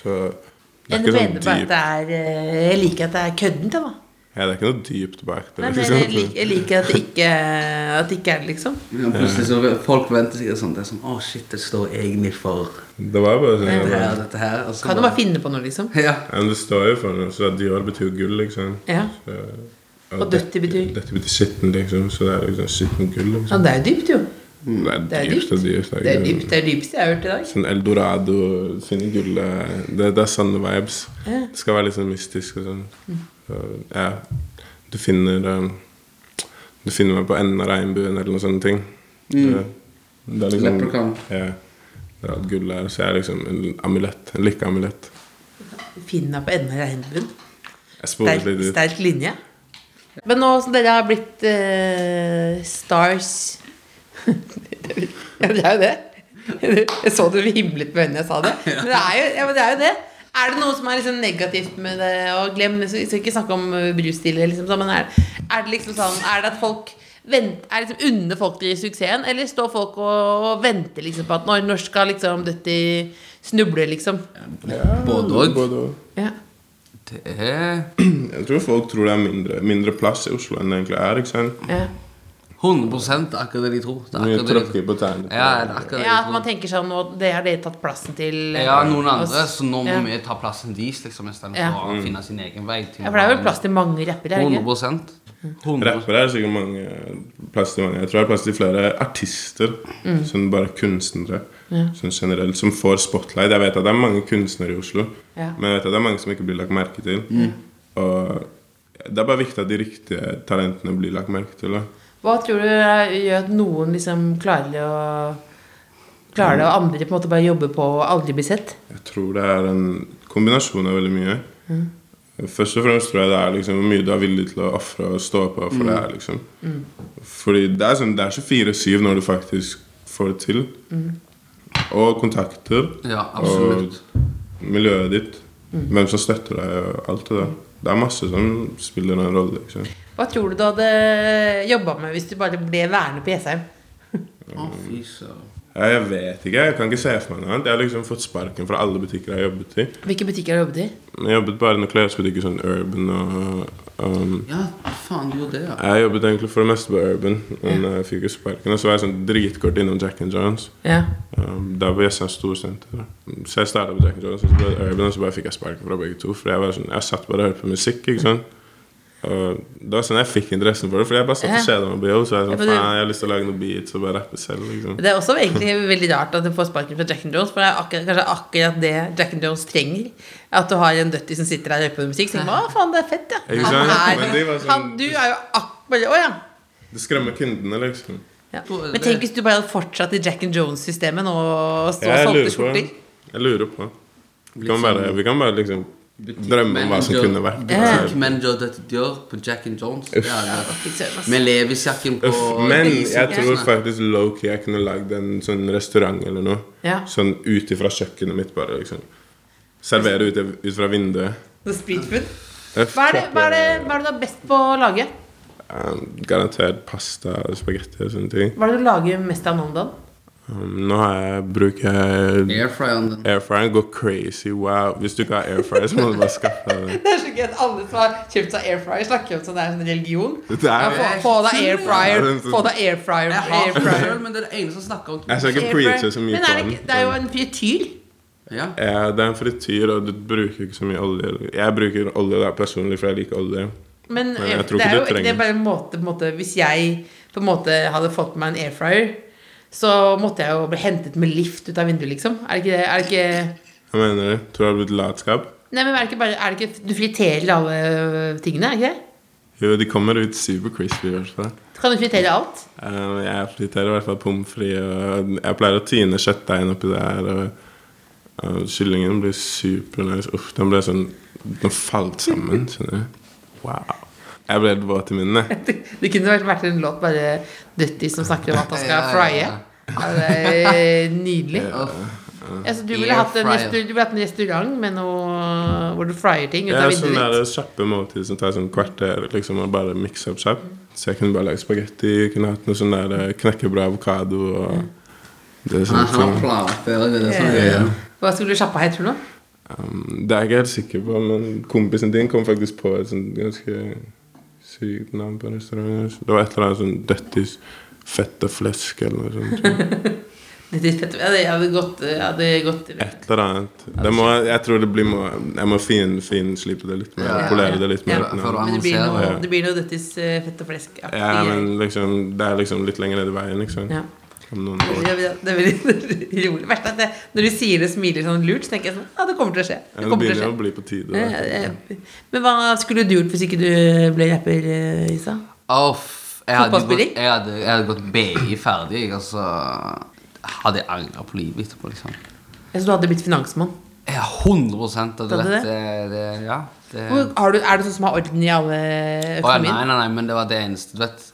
D: Så det er
C: Jeg
D: ikke sånn
C: mener bare at
D: dypt.
C: det er eh, Jeg liker at det er køddent, da.
D: Ja, det er ikke noe dypt bak det.
C: Nei, men
D: liksom.
C: jeg, lik, jeg liker at det ikke, at det ikke er det, liksom.
E: Ja, plutselig så Folk venter sikkert sånn. Det er sånn Å, shit, det står egentlig for
D: Det var bare sånn jeg
E: det her
D: bare,
E: og dette her. Og så
C: Kan du bare finne på noe, liksom?
E: Ja.
D: Men det står jo for noe, så Dior betyr jo gull, liksom.
C: Ja.
D: Så,
C: Og døtti betyr?
D: Dette betyr skitten, liksom. Så det er liksom skitten gull.
C: Ja,
D: liksom.
C: det er jo dypt, jo.
D: Det er
C: Det er
D: dyrt.
C: dypt.
D: Det er dyrt.
C: Det er dypt, det er dypeste jeg har hørt i dag.
D: Sånn Eldorado sine gull det, det er sanne vibes. Det skal være litt sånn mystisk og sånn.
C: Mm.
D: Så, Ja. Du finner eh, Du finner meg på enden av regnbuen eller noen sånne ting. Det, det er liksom
E: Leprechaun.
D: Ja. Det er at gullet er Så jeg er liksom en amulett. En lykkeamulett.
C: Finna på enden av regnbuen.
D: Jeg sporet
C: Sterk,
D: litt ut.
C: sterk linje. Men nå som dere har blitt eh, stars Ja, det er jo det. Jeg så du himlet med øynene jeg sa det. Men det er jo, ja, men det, er jo det. Er det noe som er liksom negativt med det? Og glem, vi skal ikke snakke om eh, brusstiler, liksom, sånn, men er, er det liksom sånn Er det at folk vent- er liksom Unner folk de suksessen, eller står folk og, og venter liksom på at når, når skal liksom dette snuble, liksom?
E: Både og.
D: Både og.
C: Ja.
E: Det er
D: Jeg tror folk tror det er mindre, mindre plass i Oslo enn det egentlig er. ikke sant?
C: ja.
E: 100 akkurat det de tror. Det er
D: Mye
E: akkurat det de tror.
D: tråkker på tærne.
E: Ja, det er akkurat det
C: Ja, at
E: de
C: man
E: tror.
C: tenker sånn nå, Det har dere tatt plassen til eh,
E: Ja, noen andre,
C: oss.
E: så nå må
C: ja.
E: vi ta plassen deres, liksom,
C: Ja.
E: istedenfor
D: Mm.
E: å finne sin egen vei. til
C: Ja, for det er vel plass til mange rappere? er det ikke?
E: 100 100
D: Rappere er sikkert mange plass til mange. Jeg tror det er plass til flere artister.
E: Mm.
D: Sånn bare kunstnere sånn generelt, som får spotlight. Jeg vet at det er mange kunstnere i Oslo,
C: Ja.
D: men jeg vet at det er mange som ikke blir lagt merke til.
E: Mm.
D: Og det er bare viktig at de riktige talentene blir lagt merke til. Da.
C: Hva tror du eh, gjør at noen liksom klarer å Klarer det, og andre på en måte bare jobber på og aldri blir sett?
D: Jeg tror det er en kombinasjon av veldig mye. Først og fremst tror jeg det er liksom hvor mye du er villig til å ofre og stå på for det her. liksom. Fordi det er, sånn, det er 24-7 når du faktisk får det til. Og kontakter.
E: Ja, absolutt.
D: Og miljøet ditt. Hvem som støtter deg og alt det der. Det er masse som spiller en rolle. liksom.
C: Hva tror du du hadde jobba med hvis du bare ble værende på Jessheim?
E: Å, fy søren.
D: Ja, jeg vet ikke. Jeg kan ikke se for meg noe annet. Jeg har liksom fått sparken fra alle butikker jeg har jobbet i.
C: Hvilke butikker har du jobbet i?
D: Jeg jobbet bare i noen klesbutikker, sånn Urban og um,
E: Ja, faen, du gjorde det, ja.
D: Jeg jobbet egentlig for det meste på Urban, men jeg fikk jo sparken. Og så var jeg sånn dritkort innom Jack and Jones.
C: Ja.
D: Um, der var Jessheim Storsenter. Så jeg startet på Jack and Jones, og så ble det Urban, og så bare fikk jeg sparken fra begge to. For jeg var sånn, jeg satt bare og hørte på musikk, ikke sant. Og det var sånn jeg fikk interessen for det, fordi jeg bare satt og
C: Ja.
D: kjeda meg på jobb. Så jeg
C: Ja,
D: sånn,
C: for du-
D: faen, jeg har lyst til å lage noe beats og bare rappe selv, liksom.
C: Det er også egentlig veldig rart at du får sparken fra Jack and Jones, for det er akkurat, kanskje akkurat det Jack and Jones trenger. At du har en døtti som sitter der og hører på musikk. Så tenker man, å faen, det er fett, ja.
D: Ikke sant?
C: Han
D: Men det var
C: er,
D: sånn-
C: han, du er jo akkurat Å ja.
D: Det skremmer kundene, liksom.
C: Ja. Men tenk hvis du bare hadde fortsatt i Jack and Jones-systemet nå og stå og
D: Jeg
C: solgte
D: lurer på
C: skjorter.
D: Jeg lurer på Vi
E: Litt
D: kan bare,
E: sånn
D: vi kan bare liksom drømme om hva som
E: Butikkmanager-
D: kunne vært.
E: Butikkmanager dette dør på Jack and Jones. Det er det.
C: Fy søren, ass.
E: Med Levis-jakken på
D: Uff, men jeg
E: Levis-jakken.
C: sånn.
D: tror faktisk low-key jeg kunne lagd en sånn restaurant eller noe.
C: Ja.
D: Sånn ut ifra kjøkkenet mitt, bare. liksom Servere ut, ut fra vinduet.
C: Så Streetfood.
D: Jeg
C: Hva er, det, hva, er det, hva er det du er best på å lage?
D: Um, garantert pasta og spagetti og sånne ting.
C: Hva er det du lager mest av nå om dagen?
D: Um, nå har jeg bruker jeg
E: Airfryeren din.
D: airfryeren. Går crazy. Wow. Hvis du ikke har airfryer, så må du bare skaffe deg det.
C: Det er så gøy at alle som har kjøpt seg air fryer, snakker om sånn det er en religion.
D: Det
C: Ja,
D: er, sånn-
C: få, få deg air fryer. Få deg air fryer.
E: Jeg har
C: Air
E: det
C: fryer.
E: selv, men det er det eneste som snakker om
D: jeg skal ikke
C: Air fryer.
D: preache så mye
C: Men er det,
D: på
C: ikke,
D: den.
C: det er jo en frityr.
E: Ja.
D: Ja, det er en frityr, og du bruker ikke så mye olje. Jeg bruker olje da, personlig, for jeg liker olje.
C: Men,
D: Men
C: air-
D: jeg tror ikke
C: det er
D: du
C: jo det
D: trenger-
C: er bare en måte, på en måte Hvis jeg på en måte hadde fått meg en air fryer, så måtte jeg jo bli hentet med lift ut av vinduet, liksom. Er det ikke det? Er det ikke
D: Hva mener du? Tror du det har blitt latskap?
C: Nei, men er det ikke bare er det ikke, Du friterer alle tingene, er det ikke det?
D: Jo, de kommer ut super crispy i hvert fall.
C: Kan du fritere alt?
D: Eh, Jeg friterer i hvert fall pommes frites. og Jeg pleier å tine kjøttdeigen oppi der. Og, og kyllingen blir supernice. Uff, den ble sånn Den falt sammen, skjønner du. Wow. Jeg ble helt våt i munnen. jeg.
C: Det kunne vært, vært en låt bare Døtti som snakker om at han skal
E: Ja, ja,
C: frye.
E: ja.
C: Ja, det er nydelig.
E: Uff.
C: Altså, du, ville
E: Air
C: hatt en,
E: fryer.
C: restau- du ville hatt en restaurant med noe hvor du fryer ting ut
D: Jeg er
C: av
D: sånn
C: vinduet
D: der
C: ditt.
D: kjappe måltid som tar sånn kvarter liksom, og bare mikse opp kjapt. Så jeg kunne bare lagd spagetti, kunne hatt noe sånn der eh, knekkebrød, avokado og Det
G: Han
D: er, sånn,
G: han har
D: som-
G: planlagt det. Det er det som er greia.
C: Hva skulle du sjappa het, tror du?
D: um, det er jeg ikke helt sikker på, men kompisen din kom faktisk på et sånt ganske sykt navn på restauranten. Det var et eller annet sånn 'Døttis fette flesk' eller noe sånt.
C: Dette er fett. Ja, det hadde gått, eh, hadde gått
D: Et eller annet. Det må, jeg tror det blir må, Jeg må fin, finslipe det litt mer.
G: Ja, ja, ja.
D: Polere det litt mer.
G: Ja, for
C: Men det blir noe,
G: annonserer.
C: det blir noe døttis eh, fett og flesk-aktig.
D: Ja, men liksom, det er liksom litt lenger ned i veien, liksom.
C: Ja.
D: Om noen år.
C: Ja, ja, Det er veldig rolig. Verst er at det, når du sier det og smiler sånn lurt, så tenker jeg sånn Ja, det kommer til å skje.
D: Ja,
C: Det
D: Det
C: kommer til å
D: begynner
C: skje.
D: å bli på tide.
C: Ja,
D: da.
C: ja, ja. Men hva skulle du gjort hvis ikke du ble rapper, eh, Isa?
E: Åh, f- jeg, hadde gått,
C: Fotballspilling?
E: jeg, hadde, jeg hadde gått BI ferdig, jeg, altså. Hadde jeg angra på livet etterpå, liksom.
C: Altså, du hadde blitt finansmann.
E: Jeg er 100 hadde
C: Hadde
E: vært
C: det?
E: det, det, Ja. Det,
C: Hvor, har du, er det sånn som har orden i alle
E: Å, ja, nei,
C: økonomien?
E: nei, nei, men det var det eneste. Du vet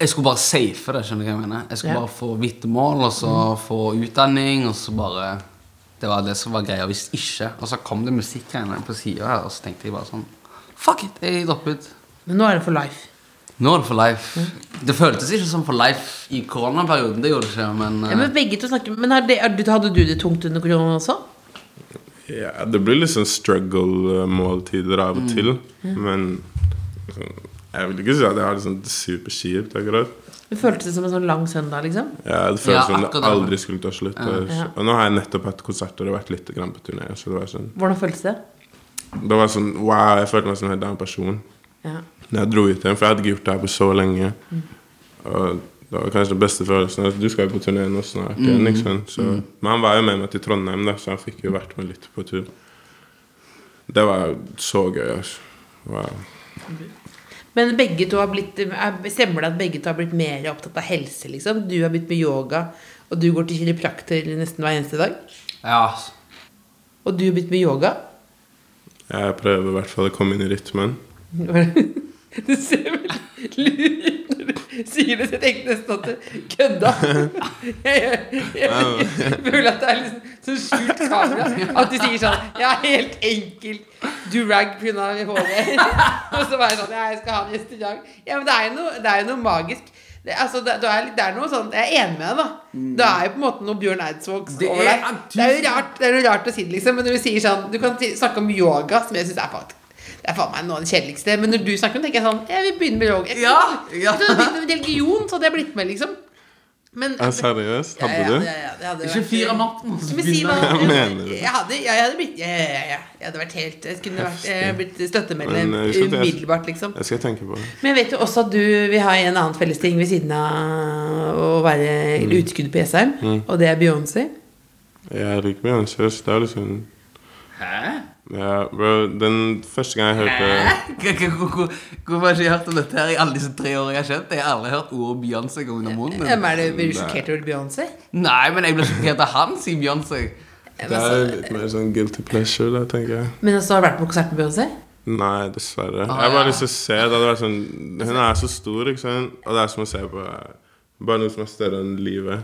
E: Jeg skulle bare safe det, skjønner du hva jeg mener? Jeg skulle
C: Ja. Mm.
E: bare få vitnemål, og så få utdanning, og så bare Det var det som var greia, hvis ikke. Og så kom det musikkgreiene på sida her, og så tenkte jeg bare sånn Fuck it, jeg dropper ut.
C: Men nå er det for life.
E: Nå er det for life. Det føltes ikke som for life i koronaperioden, det gjorde det ikke, men, eh,
C: Ja, men begge to snakker Men har det, har du- hadde du det tungt under korona også?
D: Ja, det blir litt sånn struggle-måltider av og til. Men sånn, jeg vil ikke si at jeg har det sånn superkjipt akkurat.
C: Det føltes det som en sånn lang søndag, liksom?
D: Ja, det
E: Ja,
D: føles som det
E: akkurat det.
D: aldri skulle ta slutt.
C: Ja.
D: Og nå har jeg nettopp hatt konserter og vært litt grann på turné. Så det var sånn,
C: Hvordan føltes det?
D: det var sånn Wow, jeg følte meg som en helt annen person
C: Ja.
D: da jeg dro ut igjen. For jeg hadde ikke gjort det her på så lenge.
C: Mm.
D: Og det var kanskje den beste følelsen. at Du skal jo på turné nå snart
C: Mm.
D: igjen. ikke sant? Så, men han var jo med meg til Trondheim, da, så han fikk jo vært med litt på tur. Det var så gøy, altså. Wow.
C: Men begge to har blitt er- Stemmer det at begge to har blitt mer opptatt av helse, liksom? Du har begynt med yoga, og du går til kiropraktor nesten hver eneste dag.
E: ja,
C: Og du har begynt med yoga.
D: Jeg prøver i hvert fall å komme inn i rytmen.
C: Du ser veldig lur ut når du sier det, så jeg tenkte nesten at du kødda. Jeg, jeg, jeg, føler at det er liksom så skjult kamera at du sier sånn Jeg er helt enkel durag pga. håret. Og så bare sånn Ja, jeg skal ha en gjest i dag. Ja, men det er jo noe, det er jo noe magisk. Det, altså, det, du er, litt- det er noe sånn Jeg er enig med deg, da. Det er jo på en måte noe Bjørn Eidsvåg
E: Det
C: over
E: er-
C: deg. Det er jo rart, det er noe rart å si det, liksom. Men når du sier sånn Du kan si- snakke om yoga, som jeg syns er faktisk det er faen meg noe av det kjedeligste. Men når du snakker om det, tenker jeg sånn Jeg vil begynne med yoga. Jeg-
E: Ja, ja.
C: Hvis du hadde begynt med religion, så hadde jeg blitt med, liksom. Men
D: Ja, seriøst? Hadde
C: ja, ja,
D: du?
C: ja, ja, det hadde
E: Ikke
C: vært-
E: fire om natten. så
C: Men si
E: begynner jeg.
D: Hva
C: hva-
D: mener du?
C: Jeg hadde, ja, jeg hadde blitt ja, ja, ja, ja. Jeg hadde vært helt Jeg kunne vært, eh, blitt støttemedlem
D: Men, eh, skjønte jeg-
C: umiddelbart, liksom.
D: Jeg skal tenke på det.
C: Men jeg vet jo også at du vil ha en annen fellesting ved siden av å være
D: Mm.
C: utskudd på Jessheim, og det er Beyoncé.
D: Jeg liker Beyoncé. så Det er liksom
E: Hæ?
D: ja, bro, Den første gang jeg hørte
E: Hæ? Hvorfor har jeg ikke hørt om dette her i alle disse tre årene jeg har kjent? Jeg har aldri hørt ordet Beyoncé komme under
D: Mm.
E: munnen
C: Hvem
E: min.
C: er det blir du sjokkert over Beyoncé?
E: Nei, men jeg ble sjokkert av han, sier Beyoncé.
D: Det er litt mer sånn guilty pleasure, da, tenker jeg.
C: Men også har du vært på konsert med Beyoncé?
D: Mm, Nei, dessverre.
E: Ah,
D: jeg har
E: ja.
D: bare lyst til å se. Det hadde vært sånn Hun er så stor, ikke sant? Og det er som å se på bare noe som er større enn livet.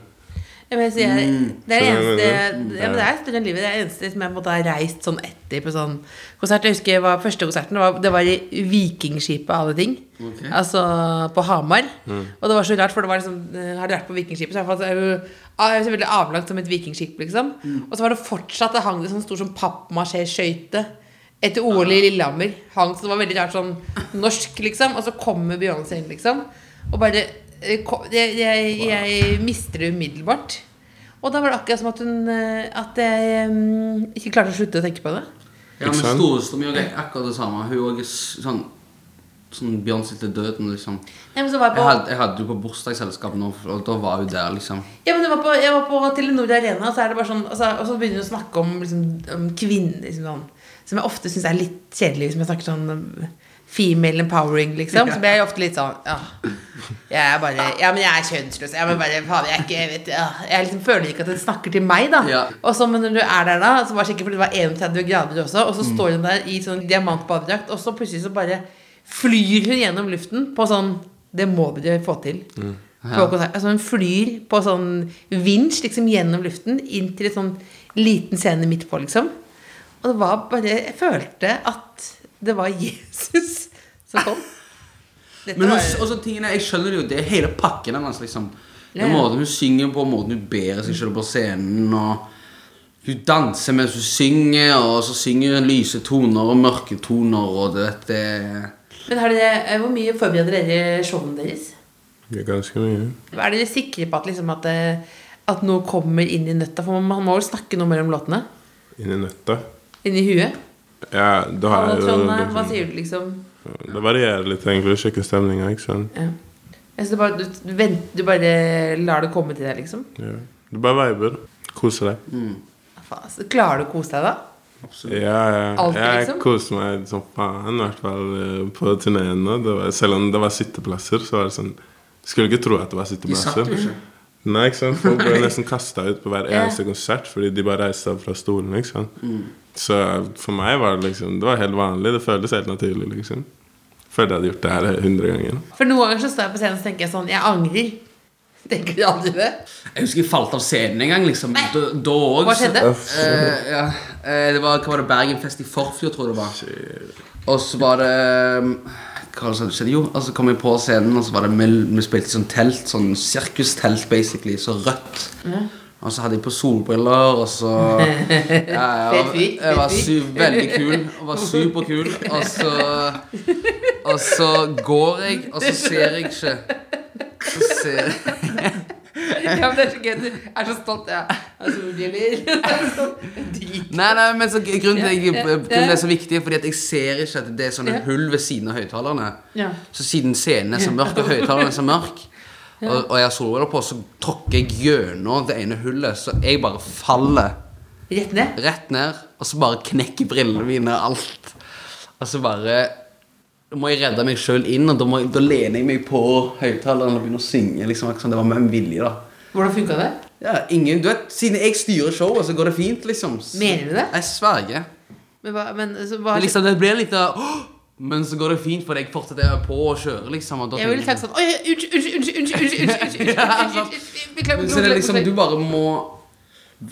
C: Ja, men jeg sier, det er det
D: Skjønner
C: eneste
D: du hva jeg mener?
C: ja, men det er større enn livet. Det er det eneste som jeg på en måte har reist sånn etter på sånn konsert. Jeg husker jeg var, første konserten det var, det var i Vikingskipet av alle ting. Altså på Hamar. Og det var så rart, for det var liksom eh, Har du vært på Vikingskipet, så er det faktisk- er det jo ah, det er selvfølgelig avlangt som et vikingskip, liksom. Og så var det fortsatt Det hang det sånn stor som pappmasjé-skøyte. Etter OL i Lillehammer. Hang, så det var veldig rart sånn norsk, liksom. Og så kommer Beyoncé inn, liksom. Og bare eh, ko- Jeg, jeg, jeg mister det umiddelbart. Og da var det akkurat som at hun eh, At jeg mm, ikke klarte å slutte å tenke på det.
E: Ja, men
D: Ikke sant?
E: storestor mi er akkurat det samme. Hun også er s- sånn, sånn Beyoncé til døden, liksom.
C: Nei, men så var jeg
E: Jeg
C: på,
E: hadde, jeg hadde jo på bursdagsselskap nå, og da var hun der, liksom.
C: ja, men det var på, jeg var på Telenor Arena, og så, er det bare sånn, altså, og så begynner hun å snakke om, liksom, om kvinner liksom, sånn, Som jeg ofte syns er litt kjedelig, hvis jeg snakker sånn um, female empowering, liksom. Så blir jeg ofte litt sånn Ja, jeg er bare Ja, men jeg er kjønnsløs. Jeg, bare, faen, jeg, er ikke, jeg, vet, ja. jeg liksom føler ikke at hun snakker til meg, da.
E: Ja.
C: Og så, men når du er der da, så var det sikkert fordi det var 31 grader også, og så står hun der i sånn diamantbadedrakt, og så plutselig så bare flyr hun gjennom luften på sånn Det må dere få til. På konsert. Altså hun flyr på sånn vinsj liksom gjennom luften inn til en sånn liten scene midt på, liksom. Og det var bare Jeg følte at det var Jesus som kom. Dette
E: Men hun,
C: var-
E: også tingene, jeg skjønner det jo, det er hele pakken hennes, liksom.
C: Ja, ja.
E: Den måten hun synger på, måten hun bærer seg selv på scenen og Hun danser mens hun synger, og så synger hun lyse toner og mørke toner, og du vet det
C: Men har dere, eh, hvor mye forbereder dere showene deres?
D: Det er ganske mye.
C: Er dere sikre på at, liksom, at, eh, at noe kommer inn i nøtta? For man- man må vel snakke noe mellom låtene?
D: Inni nøtta.
C: Inn i huet?
D: Ja, da har
C: Hallo,
D: jeg
C: Trondheim, hva sier du, liksom?
D: Det varierer litt, egentlig. Sjekke stemninga, ikke sant.
C: Ja. Jeg synes det bare, du, du vent, du bare lar det komme til deg, liksom?
D: Ja. Du bare viber. Koser deg.
C: Mm. Faen, altså, Klarer du å kose deg da?
D: Ja, ja.
C: Alltid,
D: Jeg
C: liksom?
D: koste meg som faen, i hvert fall eh, på turneene. Det var- Selv om det var sitteplasser, så var det sånn Skulle ikke tro at det var
E: De satt
D: sitteplasser.
E: jo ikke.
D: Nei, ikke sant? Folk ble nesten kasta ut på hver eneste konsert fordi de bare reiste seg fra stolen. ikke sant? Så eh, for meg var det liksom Det var helt vanlig. Det føltes helt naturlig. liksom Følte jeg hadde gjort det her hundre ganger.
C: For noen ganger så står jeg på scenen og tenker jeg sånn Jeg angrer. Tenker du aldri det?
E: Jeg husker jeg falt av scenen en gang. liksom
C: Nei.
E: Da- Da òg.
C: Hva skjedde?
E: Eh, ja. eh, det var, hva var det, Bergenfest i Forfjord, tror jeg det var. Og så var det um, Hva var det som skjedde? Jo, og så kom jeg på scenen, og så var det vi, vi spilte i sånn telt, sånn sirkustelt, basically, så rødt.
C: Mm.
E: Og så hadde jeg på solbriller, og så ja, ja,
C: Fet fyr,
E: Jeg var
C: fet
E: su veldig kul. Jeg var superkul. Og så, og så går jeg, og så ser jeg ikke. Så ser jeg
C: Ja, men det er så gøy. Du er så stolt. Ja. Jeg er solbriller. Drit.
E: Nei, nei, men så grunnen til at jeg,
C: Ja, ja,
E: grunnen til
C: ja.
E: det er så viktig, fordi at jeg ser ikke at det er sånne
C: Ja.
E: hull ved siden av høyttalerne.
C: Ja.
E: Så siden scenen er så mørk, og høyttaleren er så mørk, og, og jeg har solbriller på, så tråkker jeg gjennom det ene hullet, så jeg bare faller
C: Rett ned.
E: rett ned, og så bare knekker brillene mine og alt. Og så bare da må jeg redde meg sjøl inn, og da, må, jeg- da lener jeg meg på høyttaleren og begynner å synge. liksom, akkurat som Det var med en vilje, da.
C: Hvordan funka det?
E: Ja, ingen, du vet, Siden jeg styrer showet, så går det fint, liksom. Så-
C: Mener du det?
E: Jeg sverger.
C: Men hva, men, så, hva,
E: Men liksom, det blir litt av «Åh!» Men så går det fint, for jeg fortsetter på å kjøre, liksom. Og da
C: jeg ville
E: tenker
C: sagt
E: altså.
C: sånn Oi, unnskyld, unnskyld, unnskyld, unnskyld, unnskyld, unnskyld, unnskyld, unnskyld, unnskyld. Beklager.
E: Men så er det
C: beklager,
E: liksom, du
C: beklager.
E: bare må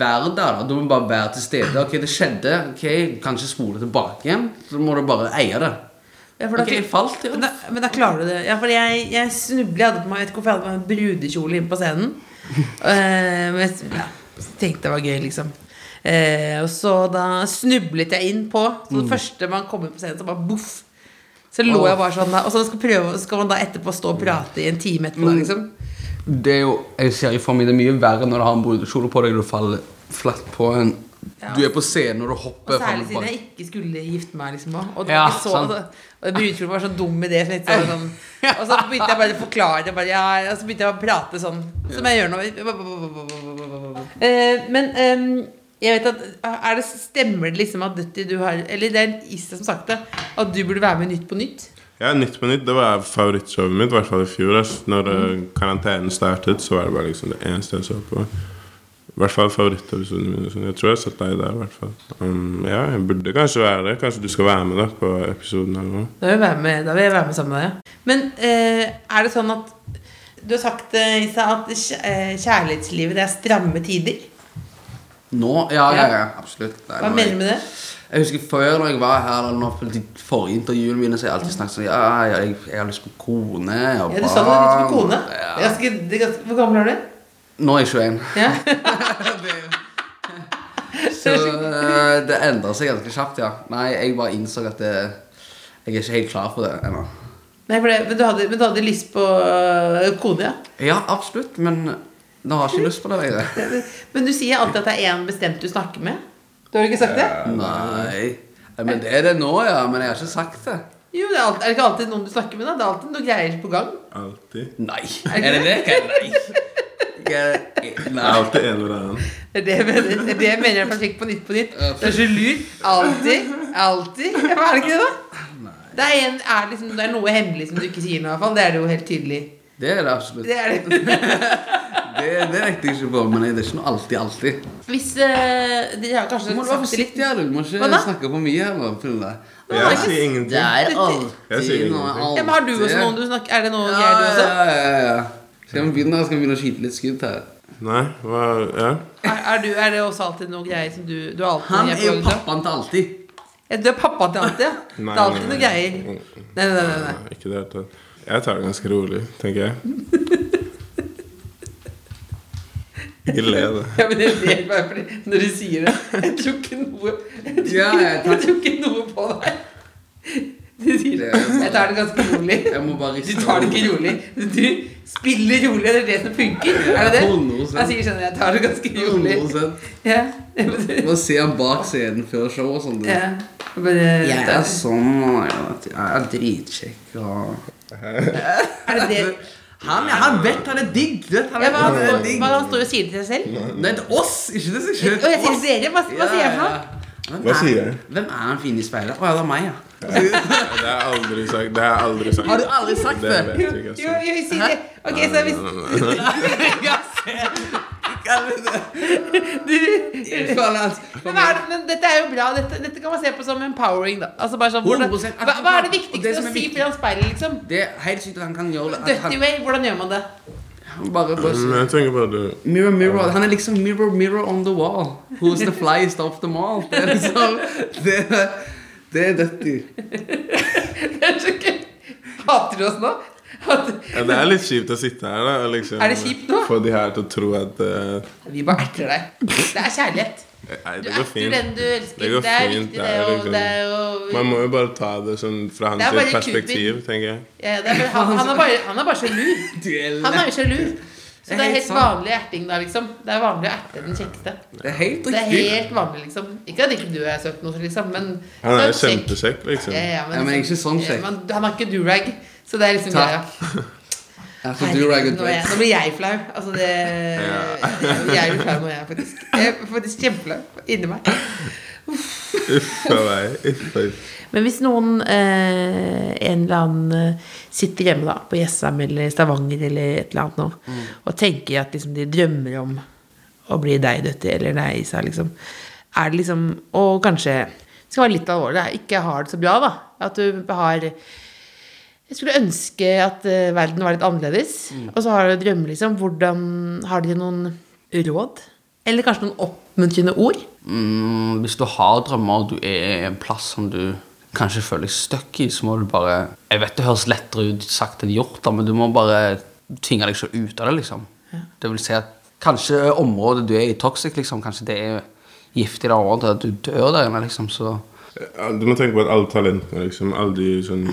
E: være der. da Du må bare være til stede. Ok, det skjedde. Ok, Kanskje spole tilbake igjen. Så må du bare eie det.
C: Ja, for da
E: Ok, jeg falt,
C: Men
E: ja.
C: da, men da klarer du det. Ja, for jeg, jeg snublet. Jeg hadde på meg, jeg vet ikke hvorfor jeg hadde på meg en brudekjole inne på scenen. Eh, men jeg ja, tenkte det var gøy, liksom. Eh, og så da snublet jeg inn på. Så det
E: Mm.
C: første man kommer på scenen, så bare boff. Så lå jeg bare sånn da. Og så skal, prøve, så skal man da etterpå stå og prate i en time etterpå,
E: Mm.
C: da, liksom.
E: Det er jo, jeg ser jo for meg det er mye verre når du har en brudekjole på deg og du faller flatt på en
C: Ja.
E: Du er på scenen og du
C: Og
E: hopper.
C: særlig
E: faller
C: siden
E: bak.
C: jeg ikke skulle gifte meg, liksom. også. Og, det
E: Ja,
C: var ikke så,
E: sant.
C: og, og brudekjolen var så dum idé. Så jeg tenkte sånn, og så begynte jeg bare å forklare det. Bare, ja, og så begynte jeg å prate sånn som jeg gjør nå. Eh, Men ehm, jeg vet at er det, stemmer det liksom at Dutty du har Eller det er Issa som sagt det, at du burde være med i Nytt på nytt?
D: Ja, Nytt på Nytt det var favorittshowet mitt, i hvert fall i fjor. ass. Når eh, karantenen startet, så var det bare liksom det eneste jeg så på. I hvert fall favorittepisodene mine. og sånn. Jeg tror jeg har sett deg der. i hvert fall um, Ja, jeg burde kanskje være det. Kanskje du skal være med da på episoden her nå.
C: Da vil jeg være med, da vil jeg være med sammen med deg. Men eh, er det sånn at du har sagt eh, Issa, at kjæ- eh, kjærlighetslivet det er stramme tider?
E: Nå? Ja, ja, ja. Absolutt. Nei,
C: Hva
E: nå er jeg-
C: mener du med det?
E: Jeg husker før når jeg var her, eller nå på de forrige intervjuene mine, så har jeg alltid snakket sånn Ja, ja jeg, jeg har lyst på kone. Jeg har
C: Ja, du sa du hadde lyst på kone.
E: barn.
C: Det er Ganske, det er ganske, hvor gammel er du?
E: Ja. Nå er jeg 21.
C: Ja.
E: Så eh, det endra seg ganske kjapt, ja. Nei, jeg bare innså at det, jeg er ikke helt klar for det ennå.
C: Nei, for det, men, du hadde, men du hadde lyst på øh, kone, ja.
E: Ja, absolutt, men nå har jeg ikke lyst på det lenger.
C: Men du sier alltid at det er én bestemt du snakker med. Du har ikke sagt det?
E: Nei. Eh, Men det er det nå, ja. Men jeg har ikke sagt det.
C: Jo, det er, alt, er det ikke alltid noen du snakker med, da? Det er alltid noen greier på gang.
D: Alltid.
E: Nei. Er det det? Hva er det? Nei. Jeg-
D: Det er
E: Nei.
D: alltid en eller annen.
C: Det er det jeg mener, det er det jeg mener når man sjekker på Nytt på Nytt. Det er så lur. Alltid. Alltid. Ja, men Er det ikke det, da? Det er, en, er liksom, det er noe hemmelig som du ikke sier nå, i hvert fall. Det er det jo helt tydelig.
E: Det er det absolutt.
C: Det er det.
E: Det, det nekter jeg ikke på, men det er ikke noe alltid, alltid.
C: Hvis øh, Dere har kanskje
E: Du må være
C: sagt det litt
E: forsiktig her, du må
C: Hva
E: ikke
C: da?
E: snakke for mye her. nå, Pille.
C: Nei,
D: Jeg
C: ikke-
D: sier
E: Det
D: ingenting. Jeg
E: er
D: sier
E: alltid noe
D: ingenting.
E: alltid.
C: Ja, men har du også noen du snakker Er det noe
E: Ja,
C: greier du også?
E: ja, ja, ja. Skal vi begynne, skal vi begynne å skyte litt skudd her?
D: Nei, hva Ja.
C: Er, er, du, er det også alltid noe greier som du Du er alltid
E: Han
C: noe
E: er
C: greier
E: jo
C: på gang,
E: pappaen til alltid.
C: da? Ja, Du er pappa til alltid, ja?
D: Nei,
C: det er alltid
D: nei,
C: noe
D: nei.
C: greier. Nei, nei, nei. nei, nei.
D: Ikke i det hele tatt. Jeg tar det ganske rolig, tenker jeg. Ikke le, da.
C: Ja, men jeg ler bare fordi når du sier det Jeg tror ikke noe Jeg tror,
E: Ja, jeg tar-
C: jeg tror ikke noe på deg. Du sier det. Jeg tar det ganske rolig.
E: Jeg må bare
C: Du
E: riste
C: tar det ikke rolig. Du spiller rolig, det er det som funker. Er det det?
E: 100%.
C: Jeg sier sånn Jeg tar det ganske rolig.
E: 100%.
C: Ja. Ja.
E: Må se han bak scenen før show og sånn.
C: Ja. Bare,
E: Jeg er
C: er
E: sånn og jeg er- Jeg er dritkjekk og
C: det det?
E: han, han vet han er digg! Vet, han,
C: Ja, hva,
E: han er
C: hva,
E: digg.
C: hva han står og sier til seg selv?
E: Nei, til oss! Ikke til seg
C: Og jeg sier
E: selv.
C: dere, hva, hva sier jeg for
E: Ja,
C: noe?
E: ja. Hvem
D: Hva
E: er-
D: sier jeg?
E: Hvem er han fine i speilet? Å ja, det er meg, ja.
D: Det har jeg aldri sagt. Det har jeg aldri sagt.
E: Har du aldri sagt
D: Det
E: det?
D: vet
C: Jo,
D: jeg ikke. altså.
C: jo, jo, si det. Ok, så hvis
E: Jeg føler at-
C: Men hva er det, men dette er jo bra. Dette, dette kan man se på som empowering, da. Altså bare sånn, hvordan,
E: 100%
C: hva, hva er det
E: Og det
C: viktigste
E: som er
C: å si
E: viktig-
C: foran speilet, liksom?
E: Det er helt sykt at han kan gjøre det. At
C: Dirty
E: han,
C: way, hvordan gjør man det?
E: han bare,
D: Men
E: bare
D: jeg tenker bare du
E: Mirror, mirror. Han er liksom mirror, mirror on the wall. Who's the flyest of them all? Det er liksom Det, det er dødt.
C: Jeg tror ikke- Hater du oss nå? Hater-
D: ja, Det er litt kjipt å sitte her da, og liksom
C: Er det kjipt nå?
D: få de her til å tro at eh,
C: Vi bare erter deg. Det er kjærlighet.
D: Nei,
C: Du
D: det går
C: erter den
D: fint.
C: du elsker.
D: Det
C: Det,
D: går
C: er
D: fint,
C: viktig,
D: det
C: det.
D: er
C: Og,
D: liksom-
C: det er jo
D: Man må jo bare ta det sånn fra
C: Det er bare
D: hans perspektiv,
C: Cupid.
D: tenker jeg.
C: ja, det er bare, han, han er bare, han er bare sjalu. Han er jo sjalu. Så det er helt
E: sånn.
C: vanlig erting da, liksom. Det er vanlig å erte den kjekkeste.
E: Det er helt
C: Det er
E: riktig.
C: helt vanlig, liksom. Ikke at ikke du har søkt noe, liksom, men
D: Han er jo
C: Søk-
D: kjempekjekk, liksom.
C: Ja, ja,
E: Ja, men
C: liksom-
E: ikke sånn kjekk.
C: Ja, men han har ikke durag. Så det er liksom
E: Takk.
C: greia.
E: Jeg får do rag
C: nå, er
E: og
C: jeg,
E: dread.
C: nå blir jeg flau. Altså det Jeg blir flau nå, jeg, faktisk. Jeg er faktisk kjempeflau inni meg.
D: Uff a meg. Uff a uff.
C: Men hvis noen, eh, en eller annen, eh, sitter hjemme da, på Jessheim eller Stavanger eller et eller annet nå, og tenker at liksom, de drømmer om å bli deg, døtti, eller deg, Isa, liksom. Er det liksom Og kanskje det skal være litt alvorlig, det er ikke har det så bra, da. At du har Jeg skulle ønske at eh, verden var litt annerledes. Og så har du drømmer, liksom. Hvordan Har dere noen råd? Eller kanskje noen oppmuntrende ord?
H: Mm, hvis du har drømmer, og du er en plass som du kanskje føler deg stuck i, så må du bare Jeg vet det høres lettere ut sagt enn gjort, da, men du må bare tvinge deg selv ut av det, liksom. Det vil si at kanskje området du er i toxic, liksom, kanskje det er giftig det området, at du dør der inne, liksom, så
D: Ja, Du må tenke på at alle talentene, liksom, alle de sånn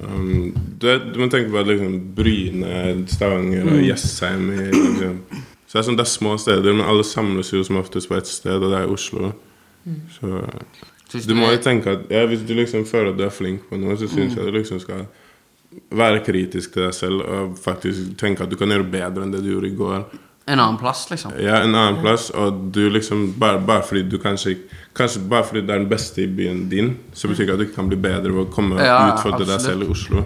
D: um, du, vet, du må tenke på at liksom Bryne, Stavanger og Jessheim er liksom. Så det er sånn, det er små steder, men alle samles jo som oftest på ett sted, og det er Oslo. Så
H: Så hvis
D: du
H: du
D: må
H: er-
D: jo tenke at ja, hvis du liksom føler at du er flink på noe, så syns jeg du liksom skal være kritisk til deg selv og faktisk tenke at du kan gjøre bedre enn det du gjorde i går.
H: En annen plass, liksom.
D: Ja, en annen plass, og du liksom bare, bare fordi du kanskje ikke- Kanskje bare fordi du er den beste i byen din, så betyr ikke at du ikke kan bli bedre ved å komme
H: Ja,
D: og utfordre deg
H: absolutt.
D: selv i Oslo.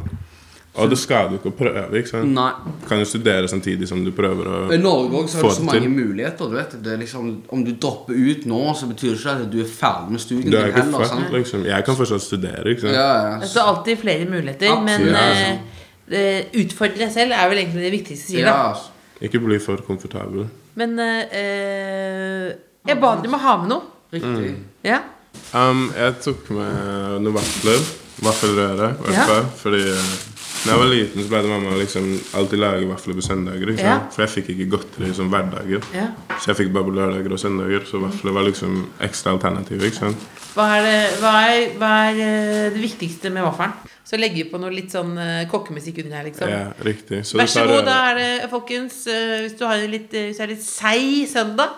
D: Og det skader jo ikke å prøve, ikke sant?
H: Nei.
D: Du kan jo studere samtidig som du prøver å
E: I Norge også har
D: Få
E: du så
D: det
E: mange
D: til.
E: muligheter. Du vet. Det er liksom, om du dropper ut nå, så betyr det ikke at du er ferdig med studiene
D: Du er
E: dine
D: ikke
E: heller.
D: fast,
E: Sant?
D: liksom. Jeg kan fortsatt studere, ikke sant?
E: Ja, ja.
C: Det er alltid flere muligheter, men
E: Absolutt.
C: eh,
D: altså.
C: eh, utfordre deg selv er vel egentlig det viktigste sier.
E: ja. altså.
C: da.
D: Ikke bli for komfortabel.
C: Men eh, eh, jeg ba dere om å ha med noe.
E: Riktig.
C: Ja.
D: Um, jeg tok med noen vafler. Vaffelrøre. i
C: Ja.
D: hvert fall, Fordi eh, når jeg var liten, så pleide mamma liksom alltid lage vafler på søndager. Ikke sant?
C: Ja.
D: For jeg fikk ikke godteri som hverdager.
C: Ja.
D: Så jeg fikk bare på lørdager og søndager. Så vafler var liksom ekstra alternativ. Ikke sant?
C: Hva er, det, hva er, hva er eh, det viktigste med vaffelen? Så legger vi på noe litt sånn eh, kokkemusikk under her, liksom.
D: Ja, riktig. Så
C: Vær
D: du
C: så
D: tar
C: god,
D: røre-
C: da er det, folkens. eh, hvis du har en litt, eh, hvis det er litt seig søndag,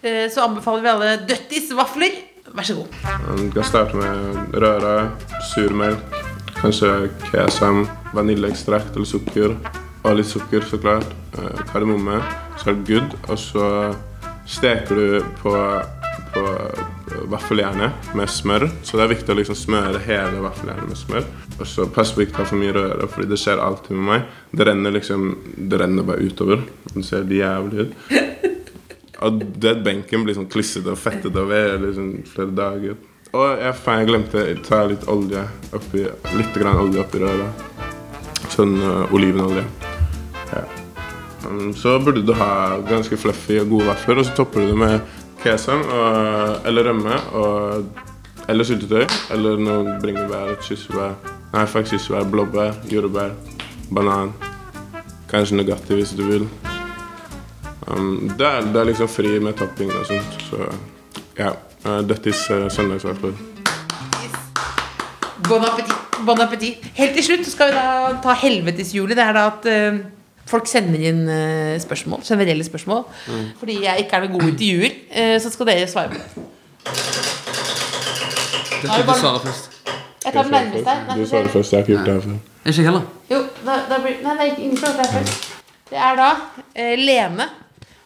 C: eh, så anbefaler vi alle Døttis vafler. Vær så god.
D: Um, Du kan starte med røre, surmelk, kanskje kesam, vaniljeekstrakt eller sukker. Og litt sukker, så klart. eh, Kardemomme. Så er det good. Og så steker du på, på eh, vaffeljernet med smør. Så det er viktig å liksom smøre hele vaffeljernet med smør. Og så pass på ikke å ha for mye røre, fordi det skjer alltid med meg. Det renner liksom, det renner bare utover. Det ser helt jævlig ut. Og du vet, benken blir sånn klissete og fettete og ved liksom, flere dager. Og jeg, faen, jeg glemte å ta litt olje oppi, litt grann olje oppi røret. Sånn øh, olivenolje. Ja. Um, så burde du ha ganske fluffy og gode vafler, og så topper du det med kesam og, eller rømme og eller syltetøy. Eller noe bringebær, kirsebær Nei, faktisk kirsebær, blåbær, jordbær, banan. Kanskje Nugatti hvis du vil. Um, det, er, det er liksom fri med tapping og sånt, så ja. Uh, dette er uh, søndagsaften.
C: Bon appétit. Bon appétit. Helt til slutt så skal vi da ta helveteshjulet. Det er da at eh, folk sender inn eh, spørsmål. Generelle spørsmål.
D: Mm.
C: Fordi jeg ikke er noen god intervjuer, eh, så skal dere svare på det.
E: Det skal du svare først.
C: Jeg tar den nærmeste her.
D: Du svarer først. Jeg har ikke gjort det her før.
H: Ikke jeg heller.
C: Jo, da, da blir Nei, det er ikke ingen som er først. Det er da eh, Lene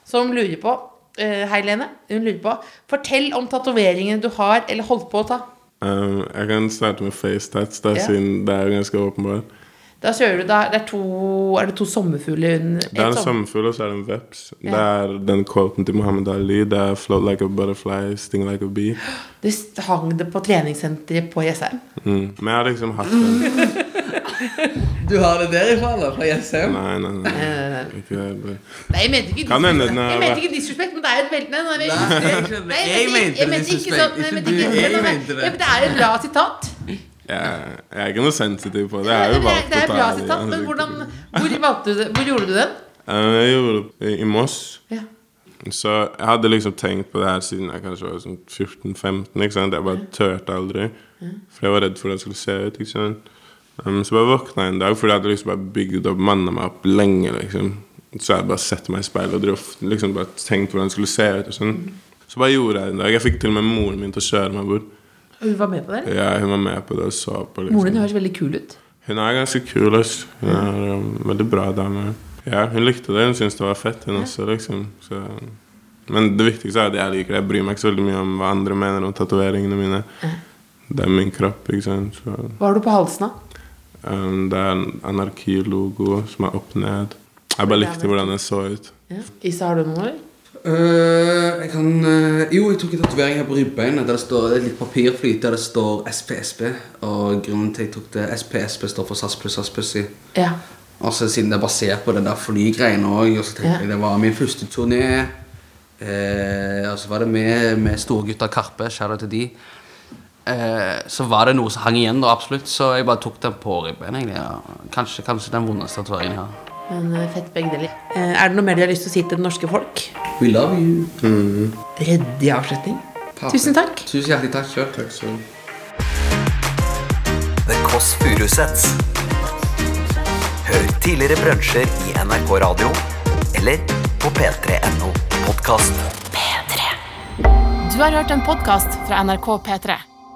C: som lurer på eh, Hei, Lene. Hun lurer på Fortell om tatoveringene du har eller holdt på å ta.
D: Um, jeg kan starte med face tats, da,
C: Ja.
D: siden det er ganske åpenbart.
C: Da kjører du da Det er to, er det to sommerfugler under
D: Det er en
C: et sommer-
D: sommerfugl, og så er det en veps.
C: sånn. Ja.
D: Det er den quoten til Muhammad Ali. Det er 'float like a butterfly, sting like a bee'.
C: Det hang det på treningssenteret på Jessheim.
D: Mm. Men jeg har liksom hatt den.
E: Du har det derifra, eller? Fra Eh. JSM?
D: Nei, nei, nei. Ikke det, det.
C: Nei, jeg mente ikke
D: Kan hende den
C: disrespekt,
D: er-
C: jeg mente ikke disrespekt men det er jo et veldig Nei, nei, jeg-
E: Nei, jeg skjønner.
C: Nei,
E: Jeg mente
C: jeg mente ikke sånn.
E: disrespekt,
C: Nei, jeg
E: ikke
C: mente
E: du.
C: ikke
E: Jeg
C: sånn, nei.
E: mente det.
C: Ja, men Det er et bra sitat.
D: Jeg, jeg er ikke noe sensitiv på det. Jeg
C: Nei,
D: er
C: men
D: jo
C: Det
D: valgt
C: er, det er
D: å
C: et bra
D: ta det i
C: sitat, men
D: ansiktet.
C: hvordan Hvor, valgte du det? hvor gjorde du den?
D: Eh, Jeg gjorde det i- i Moss.
C: Ja.
D: Så jeg hadde liksom tenkt på det her siden jeg kanskje var sånn 14-15. ikke sant? Jeg bare turte aldri. For jeg var redd for hvordan det skulle se ut. ikke sant? Um, så bare våkna jeg en dag, for jeg hadde liksom bare bygd opp manna meg opp lenge. liksom. Så jeg hadde bare sett meg i speilet og drev- liksom bare tenkt hvordan det skulle se ut. og sånn.
C: Mm.
D: Så bare gjorde jeg det en dag. Jeg fikk til og med moren min til å kjøre meg bort.
C: Hun var med på det? eller?
D: Ja, hun var med på det og så på. liksom.
C: Moren din høres veldig kul ut.
D: Hun er ganske kul, ass. Hun er um, veldig bra dame. Ja, hun likte det. Hun syntes det var fett, hun også, liksom. Så. Men det viktigste er at jeg liker det. Jeg bryr meg ikke så veldig mye om hva andre mener om tatoveringene mine. Det er min kropp, ikke sant. Så,
C: Hva har du på halsen, da?
D: um, det er en anarkilogo som er opp ned. Jeg bare likte hvordan den så ut.
C: Ja. Isa, har du noe? eller?
E: Øh, jeg kan øh, Jo, jeg tok en tatovering her på ribbeinet der det står det er litt papirflyt der det står SPSP. Og grunnen til jeg tok det SPSP står for SAS pluss SAS pluss i.
C: Ja.
E: Og så siden det er basert på den der flygreiene òg, og så tenkte
C: Ja.
E: jeg det var min første turné. Eh, og så var det med, med stor
H: Storgutta Karpe, shout-out til de. Eh, så var det noe som hang igjen, da, absolutt. Så jeg bare tok den på ribben. egentlig. Ja. Kanskje, kanskje den vondeste tatoveringen jeg har.
C: Men eh, fett begge deler. Eh, Er det noe mer du har lyst til å si til det norske folk?
E: We love you.
C: Ryddig avslutning. Tusen takk.
E: Mm. Tusen hjertelig takk. Kjør.
D: Takk skal du ha.
B: The Kåss Furuseths. Hør tidligere brunsjer i NRK Radio eller på p3.no podkast.
A: Du har hørt en podkast fra NRK P3.